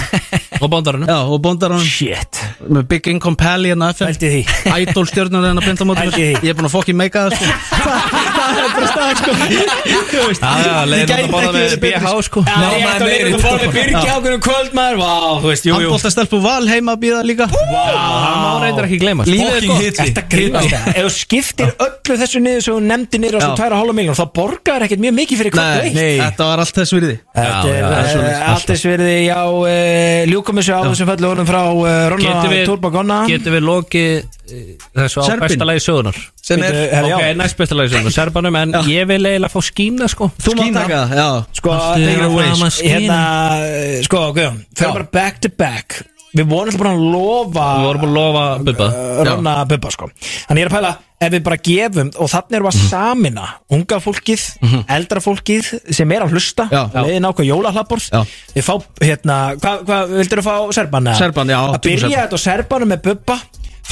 Og bándarinn já, og bondar hann Shit (laughs) með Big Income Pally hérna FM Pældi því. Idol stjörnur hérna pindamótur Pældi því. Ég er búin að fokki meika það sko Það er bara staðar sko Þú veist, Já, já, ég leiðin gæti að borða ekki með verið betri, BH sko Já, ég ætti að leika þetta fór með Birgi ákveðum kvöld maður Vá, þú veist, jú, jú Handbólta stelpu val heima að býða líka Það má reyndar ekki gleyma sko. Fucking hiti Þetta Grínast það. Ef þú skiptir öllu þessu niður sem þú nefndi niður á svo Já. tæra hálfa miljón þá borgar ekkert mjög mikið fyrir hvort Nei, veitt þetta var allt þess virði Þetta Já, er, já, það er eh, svoleiðis. Allt þess verði já eh, ljúkum þessu á þessum föllu orðum frá eh, Getum Ronna við, Turba Gonna getum við lokið eh, þessu á Serbinn. besta lagi sögunar Sem er Bíddu, herra, Ok, já. næst besta lagi sögunar, serbanum En ég vil eiginlega fá skína sko Þú má taka það, já Sko, Allt er á sama hérna, skína. eh, sko, Guðjón Fyrir bara back to back Við vorum alltaf bara að Við lofa uh, vorum að lofa Bubba Ronna Bubba sko Þannig ég er að pæla ef við bara gefum og þannig erum við Mhm. að samina unga fólkið, eldra fólkið sem er að hlusta, Já. leiðin ákveð jólahlappborð Já. við fá hérna hvað hva, vildur þú fá Serban? eða? Serban, já, að tökum byrja Serban. þetta á Serbanum með Bubba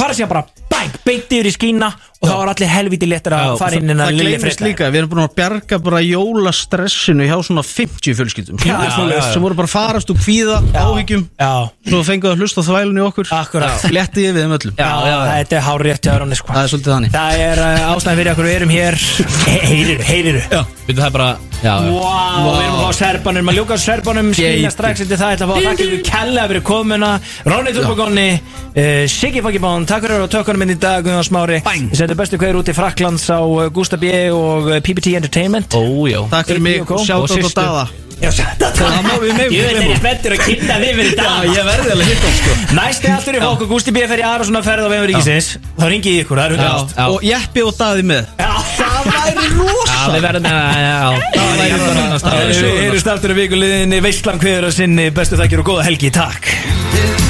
fara síðan bara bæk, beint yfir í skína og þá er allir helviti léttir að fara inn en að það lilli gleymist líka, við erum búin að bjarga bara jólastressinu hjá svona 50 fjölskyldum Já, já, já. sem voru bara farast og kvíða áhyggjum, já. svo fenguðu að hlusta á þvælun í okkur, Akkurat. létti við þeim öllum Já, já, þetta er hár rétt Það er svolítið þannig Það er uh, ástæðan fyrir okkur við erum hér He- Heyriru, heyriru Já, Við það er bara Já, já Vá, við erum á serbanum, að ljúka á serbanum skýna strax eftir það, ætla að fá að þakka ykkur kella fyrir komuna, Ronny Turbogonni uh, Siggi Fokkibón, takk fyrir að tökkanum minn hérna í dag, Guðjón Smári Bang. Ég seti bestu hverjur út í Fraklands á uh, Gústa B og uh, PPT Entertainment Ójá Takk fyrir mig, sjátt á Dada Já, sjátt á Það má við meðum Ég veit ekki spenntur að kynna þig fyrir dag Já, ég verði alveg hitt á sko Næsti aftur í fólk og Gústi B fer í Arason að ferða á vegum ríkisins Þá ringi ég ykkur, það er hundrast Og Jeppi og Daði með Það væri Já, við verðum að Já, það er ég bara annars staðar. Við heyrjumst aftur í vikuliðinni Veistlam hver að sinni Bestu þakkir og góða helgi, takk Takk